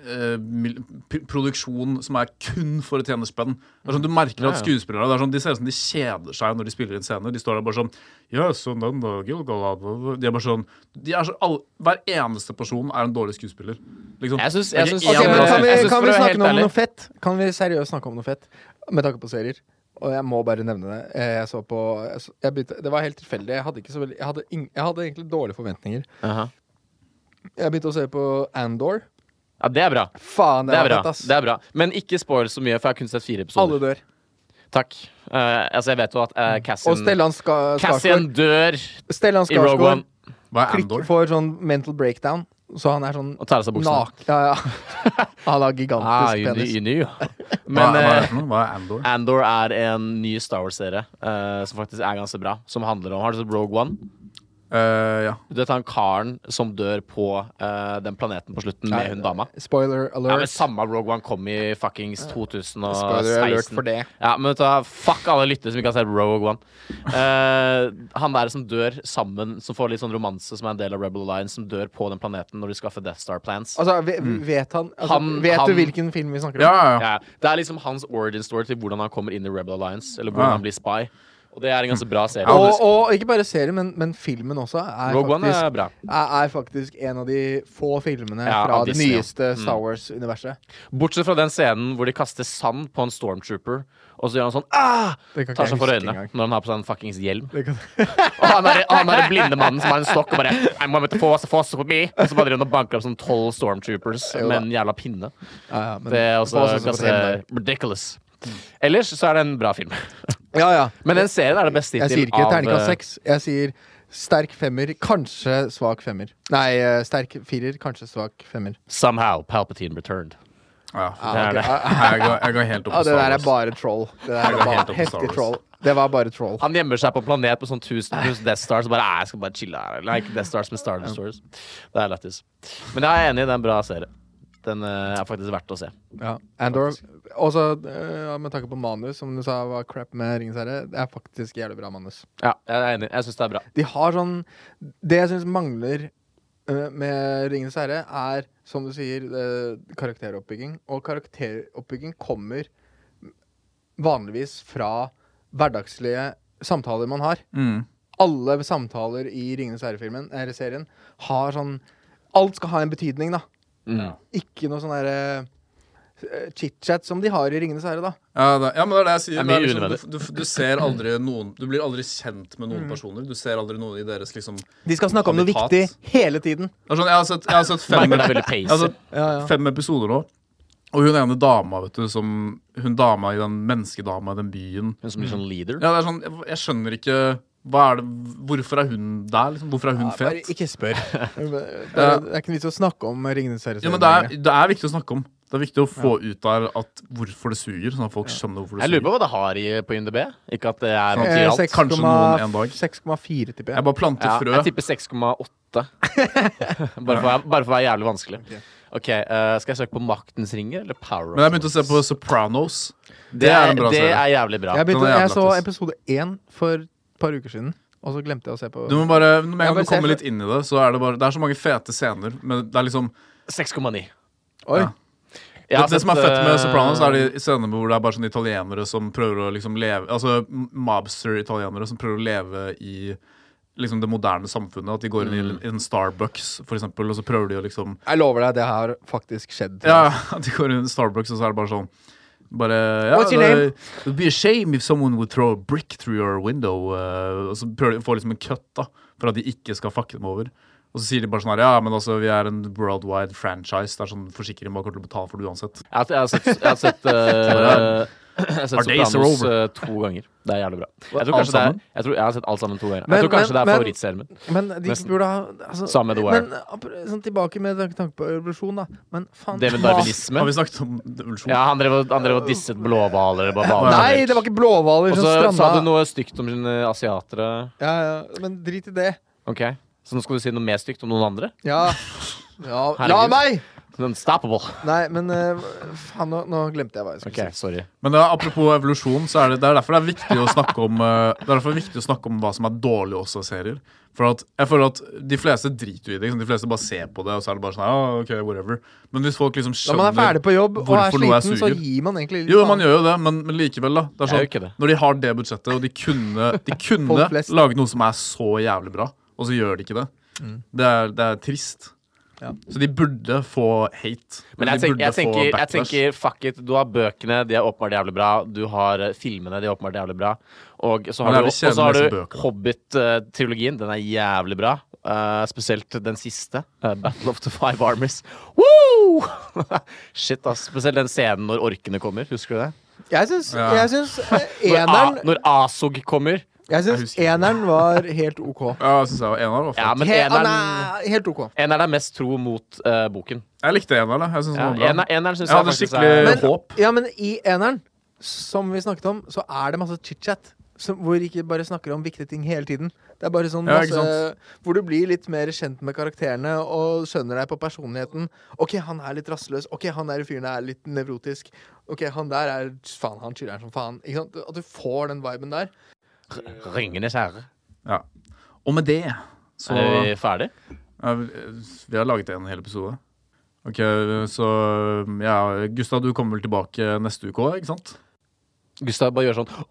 [SPEAKER 3] eh, mil- pr- produksjon som er kun for å tjene spenn. Det er sånn, du merker at
[SPEAKER 2] Ja, ja.
[SPEAKER 3] skuespillere det er sånn, De ser ut som de kjeder seg når de spiller inn scener. De står der bare sånn ja, så den da, Gilgal, da, da». De er bare sånn de er så, all, Hver eneste person er en dårlig skuespiller. Liksom.
[SPEAKER 2] Jeg synes-
[SPEAKER 3] Det er
[SPEAKER 2] jeg
[SPEAKER 3] ikke
[SPEAKER 2] synes-
[SPEAKER 6] Ok,
[SPEAKER 3] én
[SPEAKER 6] men
[SPEAKER 3] bra
[SPEAKER 2] Jeg
[SPEAKER 6] kan vi,
[SPEAKER 2] synes
[SPEAKER 6] kan
[SPEAKER 2] for å
[SPEAKER 6] vi
[SPEAKER 2] være
[SPEAKER 6] snakke
[SPEAKER 2] helt
[SPEAKER 6] om noe
[SPEAKER 2] ærlig-
[SPEAKER 6] fett? Kan vi seriøst snakke om noe fett? Med tanke på serier. Og jeg må bare nevne det. Eh, Jeg så på jeg så, jeg begynte, Det var helt tilfeldig. Jeg hadde, ikke så veldig, jeg, hadde ing, jeg hadde egentlig dårlige forventninger.
[SPEAKER 2] Aha.
[SPEAKER 6] Jeg begynte å se på Andor.
[SPEAKER 2] Ja, det er bra.
[SPEAKER 6] Faen,
[SPEAKER 2] Det
[SPEAKER 6] det
[SPEAKER 2] er
[SPEAKER 6] var
[SPEAKER 2] bra.
[SPEAKER 6] fett, ass.
[SPEAKER 2] Det er bra. Men ikke spoil så mye, for jeg har kun sett fire
[SPEAKER 6] Alle
[SPEAKER 2] episoder.
[SPEAKER 6] dør.
[SPEAKER 2] Takk. Eh, altså, jeg vet jo at uh,
[SPEAKER 6] Og
[SPEAKER 2] Cassian
[SPEAKER 6] Stellan Ska-
[SPEAKER 2] Cassian
[SPEAKER 6] Skarsgård
[SPEAKER 2] dør
[SPEAKER 6] Stellan
[SPEAKER 2] i Rogue One
[SPEAKER 6] Skarsgård
[SPEAKER 3] Hva er
[SPEAKER 6] klikk
[SPEAKER 3] Andor?
[SPEAKER 6] får sånn mental breakdown, så han er sånn
[SPEAKER 2] og tar av seg buksene.
[SPEAKER 6] naken. Ja, ja. Han har
[SPEAKER 2] Ah,
[SPEAKER 6] gigantisk
[SPEAKER 2] you knew,
[SPEAKER 6] penis.
[SPEAKER 2] you knew.
[SPEAKER 3] Hva,
[SPEAKER 2] Men
[SPEAKER 3] hva Ah, er
[SPEAKER 2] eh,
[SPEAKER 3] det for noe? Hva er Andor?
[SPEAKER 2] Andor er en ny Star Wars-serie eh, som faktisk er ganske bra. Som handler om Har du sett Rogue One?
[SPEAKER 3] Eh, ja.
[SPEAKER 2] Du vet han karen som dør på eh, den planeten på slutten med hun dama?
[SPEAKER 6] Spoiler
[SPEAKER 2] Ja, men
[SPEAKER 6] alert.
[SPEAKER 2] Samme Rogue One kom i fuckings 2016.
[SPEAKER 6] Spoiler alert for det.
[SPEAKER 2] Ja, men vet du, hva, Fuck alle lyttere som ikke har sett Rogue One. Eh, han der som dør sammen, som får litt sånn romanse, som er en del av Rebel Alliance, som dør på den planeten når de skaffer Death Star Plans.
[SPEAKER 6] Altså, ve- vet han,
[SPEAKER 2] Mm.
[SPEAKER 6] altså,
[SPEAKER 2] Han-
[SPEAKER 6] Vet
[SPEAKER 2] han-
[SPEAKER 6] du hvilken film vi snakker om?
[SPEAKER 3] Ja, ja, ja.
[SPEAKER 2] Ja, det er liksom hans origin story til hvordan han kommer inn i Rebel Alliance, eller hvordan
[SPEAKER 3] Ja.
[SPEAKER 2] han blir spy. Og det er en ganske bra serie.
[SPEAKER 6] Og, og ikke bare serien, men, men filmen også er
[SPEAKER 2] Rogue One
[SPEAKER 6] faktisk
[SPEAKER 2] er bra.
[SPEAKER 6] er, er faktisk en av de få filmene
[SPEAKER 2] Ja,
[SPEAKER 6] fra
[SPEAKER 2] av
[SPEAKER 6] det
[SPEAKER 2] Disney, ja.
[SPEAKER 6] nyeste Star Wars-universet.
[SPEAKER 2] Bortsett fra den scenen hvor de kaster sand på en stormtrooper, og så gjør han sånn ah!
[SPEAKER 6] Det kan ikke
[SPEAKER 2] Tar
[SPEAKER 6] jeg
[SPEAKER 2] seg for
[SPEAKER 6] huske
[SPEAKER 2] øynene
[SPEAKER 6] engang.
[SPEAKER 2] når han har på seg en fuckings hjelm.
[SPEAKER 6] Det kan-
[SPEAKER 2] Og han er, han er den blinde mannen som har en stokk og bare I'm going to force, force with me. Og så bare driver han og banker opp sånn tolv stormtroopers
[SPEAKER 6] Jo da.
[SPEAKER 2] med en jævla pinne.
[SPEAKER 6] Ja, ja, men-
[SPEAKER 2] Det er også
[SPEAKER 6] Force is a
[SPEAKER 2] ganske
[SPEAKER 6] hell,
[SPEAKER 2] ridiculous. Ellers så er det en bra film.
[SPEAKER 6] ja, ja.
[SPEAKER 2] Men den serien er det beste
[SPEAKER 6] Jeg
[SPEAKER 2] hittil
[SPEAKER 6] sier ikke
[SPEAKER 2] av, eh,
[SPEAKER 6] terningkast seks. Jeg sier sterk femmer, kanskje svak femmer. Nei, eh, sterk firer, kanskje svak femmer.
[SPEAKER 2] eh, Somehow Palpatine Returned.
[SPEAKER 3] ja.
[SPEAKER 6] Ja,
[SPEAKER 2] Det er
[SPEAKER 6] ok.
[SPEAKER 2] det.
[SPEAKER 6] Ja,
[SPEAKER 3] Nei, Jeg, går, jeg går helt opp
[SPEAKER 6] ja,
[SPEAKER 3] på
[SPEAKER 6] det der er
[SPEAKER 3] Star Wars.
[SPEAKER 6] bare troll. Det der
[SPEAKER 3] går
[SPEAKER 6] er
[SPEAKER 3] helt
[SPEAKER 6] bare
[SPEAKER 3] opp på Star
[SPEAKER 6] heftig
[SPEAKER 3] Wars.
[SPEAKER 6] troll. Det var bare troll.
[SPEAKER 2] Han gjemmer seg på en planet på sånn 1000 pluss Death Stars og bare "Nei, jeg skal bare chille her. Eller ikke Death Stars, men Star Destroyers. Det er lættis. Men jeg er enig, det er en bra serie. Den eh, er faktisk verdt å se.
[SPEAKER 6] Ja. Andor Også eh, med tanke på manus, som du sa var crap med Ringens herre, det er faktisk jævlig bra manus.
[SPEAKER 2] Ja, jeg er enig. Jeg syns det er bra.
[SPEAKER 6] De har sånn Det jeg syns mangler eh, med Ringenes herre, er, som du sier, eh, karakteroppbygging. Og karakteroppbygging kommer vanligvis fra hverdagslige samtaler man har.
[SPEAKER 3] Mm.
[SPEAKER 6] Alle samtaler i Ringenes herre-filmen, eh, eller serien, har sånn Alt skal ha en betydning, da. Ikke noe sånn derre eh, chit-chat som de har i Ringenes herre, da.
[SPEAKER 3] Ja, det, ja, men det er det jeg sier.
[SPEAKER 2] Det er
[SPEAKER 3] Det er
[SPEAKER 2] mye
[SPEAKER 3] liksom, du, du, du ser aldri noen Du blir aldri kjent med
[SPEAKER 6] Mm.
[SPEAKER 3] noen personer. Du ser aldri noen i deres liksom Det
[SPEAKER 6] De skal snakke om noe
[SPEAKER 3] Habitat.
[SPEAKER 6] viktig hele tiden.
[SPEAKER 3] er sånn, Jeg har sett, jeg har sett fem,
[SPEAKER 2] Merker det er veldig
[SPEAKER 3] jeg har
[SPEAKER 2] pacey.
[SPEAKER 3] sett fem episoder nå. Og hun ene dama, vet du, som Hun dama i den menneskedama i den byen
[SPEAKER 2] Hun som blir sånn leader.
[SPEAKER 3] Ja, det er sånn Jeg, jeg skjønner ikke hva er det, Hvorfor er hun der, liksom? Hvorfor er hun
[SPEAKER 6] Bare
[SPEAKER 3] fet?
[SPEAKER 6] ikke spør. Det er, det er ikke noe vits å snakke om Ringenes herre.
[SPEAKER 3] Ja, men det er, det er viktig å snakke om. Det er viktig å få ut der at hvorfor det suger, sånn at folk skjønner hvorfor det
[SPEAKER 2] Jeg lurer
[SPEAKER 3] suger.
[SPEAKER 2] på hva det har i, på IMDb. Ikke at det er
[SPEAKER 6] Eh,
[SPEAKER 2] materialt.
[SPEAKER 6] seks-
[SPEAKER 3] Kanskje noen en dag.
[SPEAKER 6] 6,4, tipper jeg.
[SPEAKER 3] Jeg bare planter
[SPEAKER 2] Ja,
[SPEAKER 3] frø.
[SPEAKER 2] jeg tipper 6,8. bare, for å være- bare for å være jævlig vanskelig. Ok, eh, Skal jeg søke på Maktens ringer eller Power of
[SPEAKER 3] Men jeg begynte å se
[SPEAKER 2] Swords?
[SPEAKER 3] på Sopranos.
[SPEAKER 2] Det er,
[SPEAKER 3] en bra
[SPEAKER 2] det
[SPEAKER 3] serie.
[SPEAKER 2] er jævlig bra.
[SPEAKER 6] Jeg,
[SPEAKER 3] den
[SPEAKER 6] begynte,
[SPEAKER 3] er
[SPEAKER 6] jeg
[SPEAKER 3] jævla
[SPEAKER 6] så
[SPEAKER 3] lættis.
[SPEAKER 6] episode 1 for et par uker siden, og så glemte jeg å se på
[SPEAKER 3] Du må bare, Med en
[SPEAKER 6] Ja,
[SPEAKER 3] gang
[SPEAKER 6] men
[SPEAKER 3] du kommer
[SPEAKER 6] se-
[SPEAKER 3] litt inn i det, så er det bare Det er så mange fete scener. Men det er liksom Det,
[SPEAKER 2] 6,9.
[SPEAKER 6] Oi,
[SPEAKER 3] Ja.
[SPEAKER 2] Jeg har
[SPEAKER 3] det som er
[SPEAKER 2] sett,
[SPEAKER 3] fett med
[SPEAKER 2] eh,
[SPEAKER 3] Sopranos, er de scenene hvor det er bare sånne italienere som prøver å liksom leve Altså mobster-italienere som prøver å leve i liksom det moderne samfunnet. At de går inn i
[SPEAKER 2] Mm.
[SPEAKER 3] en- i en Starbucks, for eksempel, og så prøver de å liksom
[SPEAKER 6] jeg lover deg, det har faktisk skjedd.
[SPEAKER 3] Ja, at de går inn i Starbucks, og så er det bare sånn bare, ja,
[SPEAKER 6] What's your
[SPEAKER 3] det-
[SPEAKER 6] name?
[SPEAKER 3] It would be a shame if someone would throw a brick through your window. eh, og så prøver de å få liksom en cut da, for at de ikke skal fucke dem over. Og så sier de bare sånn her, ja, men altså, vi er en worldwide franchise. Det er sånn forsikring bare kommer til å betale for det uansett.
[SPEAKER 2] Jeg har, jeg har sett, jeg har sett, eh, jeg har sett
[SPEAKER 3] Our days are
[SPEAKER 2] Sopranos
[SPEAKER 3] over.
[SPEAKER 2] eh, to ganger. Det er jævlig bra. Jeg tror
[SPEAKER 3] Alt
[SPEAKER 2] kanskje det er,
[SPEAKER 3] sammen?
[SPEAKER 2] jeg, tror, jeg har sett alt sammen to ganger.
[SPEAKER 6] Men-
[SPEAKER 2] jeg tror kanskje
[SPEAKER 6] men-
[SPEAKER 2] det
[SPEAKER 6] men-
[SPEAKER 2] er favorittserien min.
[SPEAKER 6] Men de
[SPEAKER 2] Nesten.
[SPEAKER 6] burde ha altså,
[SPEAKER 2] Samme The Wire.
[SPEAKER 6] Men ap- sånn tilbake med tanke- tanke på revolusjon, da. Men faen
[SPEAKER 2] Det med
[SPEAKER 6] hva-
[SPEAKER 2] darwinisme.
[SPEAKER 3] Har vi snakket om evolusjon?
[SPEAKER 2] Ja, han drev og- han drev og disset blåhvaler.
[SPEAKER 6] Nei, det var ikke sånn blåhvaler
[SPEAKER 2] Og
[SPEAKER 6] som
[SPEAKER 2] så sa du
[SPEAKER 6] stranda.
[SPEAKER 2] noe stygt om eh, asiatere.
[SPEAKER 6] Ja, ja, men drit i det.
[SPEAKER 2] Ok, Så nå skal du si noe mer stygt om noen andre?
[SPEAKER 6] Ja. ja la
[SPEAKER 2] Herregud.
[SPEAKER 6] meg!
[SPEAKER 2] Unstoppable.
[SPEAKER 6] Nei, men eh, faen, nå, nå glemte jeg hva jeg skulle
[SPEAKER 2] Ok, sorry.
[SPEAKER 3] Men det er, apropos evolusjon, så er det, det er derfor det er viktig å snakke om eh, Det er derfor det er viktig å snakke om hva som er dårlig også av serier. For at, jeg føler at de fleste driter jo i det. ikke sant? De fleste bare ser på det, og så er det bare sånn ah, ok, whatever. Men hvis folk liksom
[SPEAKER 6] si. Når
[SPEAKER 3] skjønner
[SPEAKER 6] man er ferdig på jobb og er
[SPEAKER 3] hvorfor noe er
[SPEAKER 6] sliten, så
[SPEAKER 3] suger.
[SPEAKER 6] gir man egentlig litt
[SPEAKER 3] Jo, man
[SPEAKER 6] faen.
[SPEAKER 3] gjør jo det, men, men likevel, da. Det er
[SPEAKER 2] Jeg
[SPEAKER 3] sånn,
[SPEAKER 2] gjør ikke det.
[SPEAKER 3] Når de har det budsjettet, og de kunne, de kunne
[SPEAKER 6] Folk flest.
[SPEAKER 3] laget noe som er så jævlig bra, og så gjør de ikke det. Det, er, det er trist.
[SPEAKER 6] Mm. Ja.
[SPEAKER 3] Så de burde få hate.
[SPEAKER 2] Men
[SPEAKER 3] de
[SPEAKER 2] jeg tenker,
[SPEAKER 3] burde
[SPEAKER 2] jeg,
[SPEAKER 3] få
[SPEAKER 2] tenker, jeg
[SPEAKER 3] backlash.
[SPEAKER 2] tenker fuck it. Du har bøkene, de er åpenbart jævlig bra. Du har eh, filmene, de er åpenbart jævlig bra. Og så
[SPEAKER 3] Men
[SPEAKER 2] har
[SPEAKER 3] det er vel
[SPEAKER 2] du, og så
[SPEAKER 3] kjedelig
[SPEAKER 2] har
[SPEAKER 3] å lese
[SPEAKER 2] du
[SPEAKER 3] bøkene.
[SPEAKER 2] Hobbit-trilogien. Den er jævlig bra. Eh, spesielt den siste. eh, Battle of the Five Armies. Woo! Shit, ass. Spesielt den scenen når orkene kommer. Husker du det?
[SPEAKER 6] Jeg syns,
[SPEAKER 3] Ja. ah,
[SPEAKER 6] jeg syns eh,
[SPEAKER 2] Når, A-
[SPEAKER 6] eneren
[SPEAKER 2] når Asog kommer.
[SPEAKER 6] Jeg
[SPEAKER 3] Jeg
[SPEAKER 6] syns
[SPEAKER 3] husker ikke.
[SPEAKER 6] eneren var helt OK.
[SPEAKER 3] Ja, jeg synes jeg var enar. i hvert fall.
[SPEAKER 2] Ja, men
[SPEAKER 6] He, han
[SPEAKER 2] eneren
[SPEAKER 6] er helt OK.
[SPEAKER 2] eneren er mest tro mot eh, boken.
[SPEAKER 3] Jeg likte eneren. da. Jeg synes den
[SPEAKER 2] Ja,
[SPEAKER 3] var bra.
[SPEAKER 2] ener- eneren syns
[SPEAKER 3] Jeg
[SPEAKER 2] jeg
[SPEAKER 3] hadde
[SPEAKER 2] faktisk
[SPEAKER 3] skikkelig-
[SPEAKER 2] er
[SPEAKER 6] Men,
[SPEAKER 3] håp.
[SPEAKER 6] ja, men i eneren, som vi snakket om, så er det masse chit-chat. som, hvor ikke bare snakker om viktige ting hele tiden. Det er bare sånn
[SPEAKER 3] Ja,
[SPEAKER 6] masse,
[SPEAKER 3] ikke sant?
[SPEAKER 6] Hvor du blir litt mer kjent med karakterene og skjønner deg på personligheten. OK, han er litt rastløs. OK, han der fyren er litt nevrotisk. OK, han der er Faen, han chiller'n som faen. Ikke sant? At du får den viben der.
[SPEAKER 2] R- Ringenes herre.
[SPEAKER 3] Ja. Og med det så
[SPEAKER 2] Er vi ferdig?
[SPEAKER 3] Ja, vi- Vi har laget en hel episode. Ok, så ja, Gustav, du kommer vel tilbake neste uke òg, ikke sant?
[SPEAKER 2] Gustav bare gjør sånn.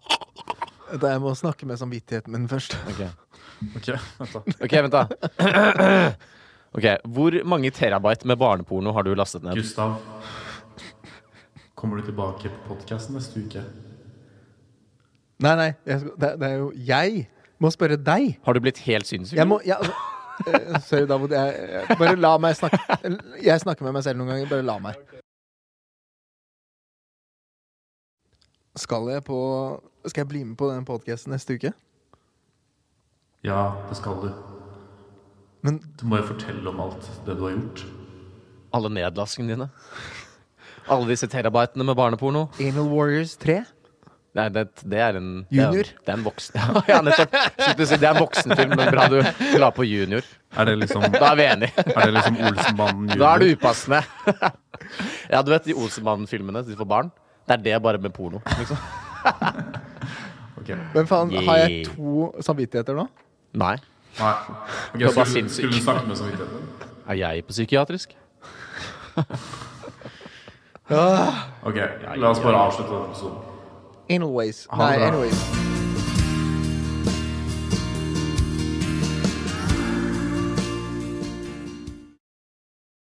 [SPEAKER 6] Da jeg må snakke med samvittigheten min først.
[SPEAKER 2] Ok,
[SPEAKER 3] Ok, vent da.
[SPEAKER 2] Ok, vent, da. Ok, Hvor mange terabyte med barneporno har du lastet ned?
[SPEAKER 3] Gustav, kommer du tilbake på podkasten neste uke?
[SPEAKER 6] Nei, nei. Jeg, skal- det, det er jo Jeg må spørre deg.
[SPEAKER 2] Har du blitt helt sinnssyk?
[SPEAKER 6] Jeg må jeg, altså, eh, Sorry, David. Jeg, jeg, bare la meg snakke. Jeg snakker med meg selv noen ganger. Bare la meg. Skal jeg på Skal jeg bli med på den podkasten neste uke?
[SPEAKER 3] Ja, det skal du.
[SPEAKER 6] Men
[SPEAKER 3] Du må jo fortelle om alt det du har gjort.
[SPEAKER 2] Alle nedlaskene dine? Alle disse terabytene med barneporno?
[SPEAKER 6] Anal Warriors 3?
[SPEAKER 2] Nei, det, det er en
[SPEAKER 6] Junior?
[SPEAKER 2] Det er, det er en voksen Ja, nettopp. Skulle til å si, Det er en voksenfilm, men bra du la på junior.
[SPEAKER 3] Er det liksom,
[SPEAKER 2] Da er vi enige.
[SPEAKER 3] er det liksom Olsenbanden junior?
[SPEAKER 2] Da er det upassende. Ja, du vet de Olsenmannen-filmene de får barn? Det er det bare med porno. Liksom.
[SPEAKER 3] Ok.
[SPEAKER 6] Men faen, har jeg
[SPEAKER 2] Yeah.
[SPEAKER 6] to samvittigheter nå?
[SPEAKER 2] Nei.
[SPEAKER 3] Nei. Ok,
[SPEAKER 2] var bare
[SPEAKER 3] skulle,
[SPEAKER 2] sinnssyk.
[SPEAKER 3] skulle du snakke med samvittigheten?
[SPEAKER 2] Er jeg på psykiatrisk?
[SPEAKER 3] Ok, la oss bare avslutte denne episoden.
[SPEAKER 6] Analways.
[SPEAKER 3] det
[SPEAKER 6] Nei,
[SPEAKER 3] bra.
[SPEAKER 6] anyways.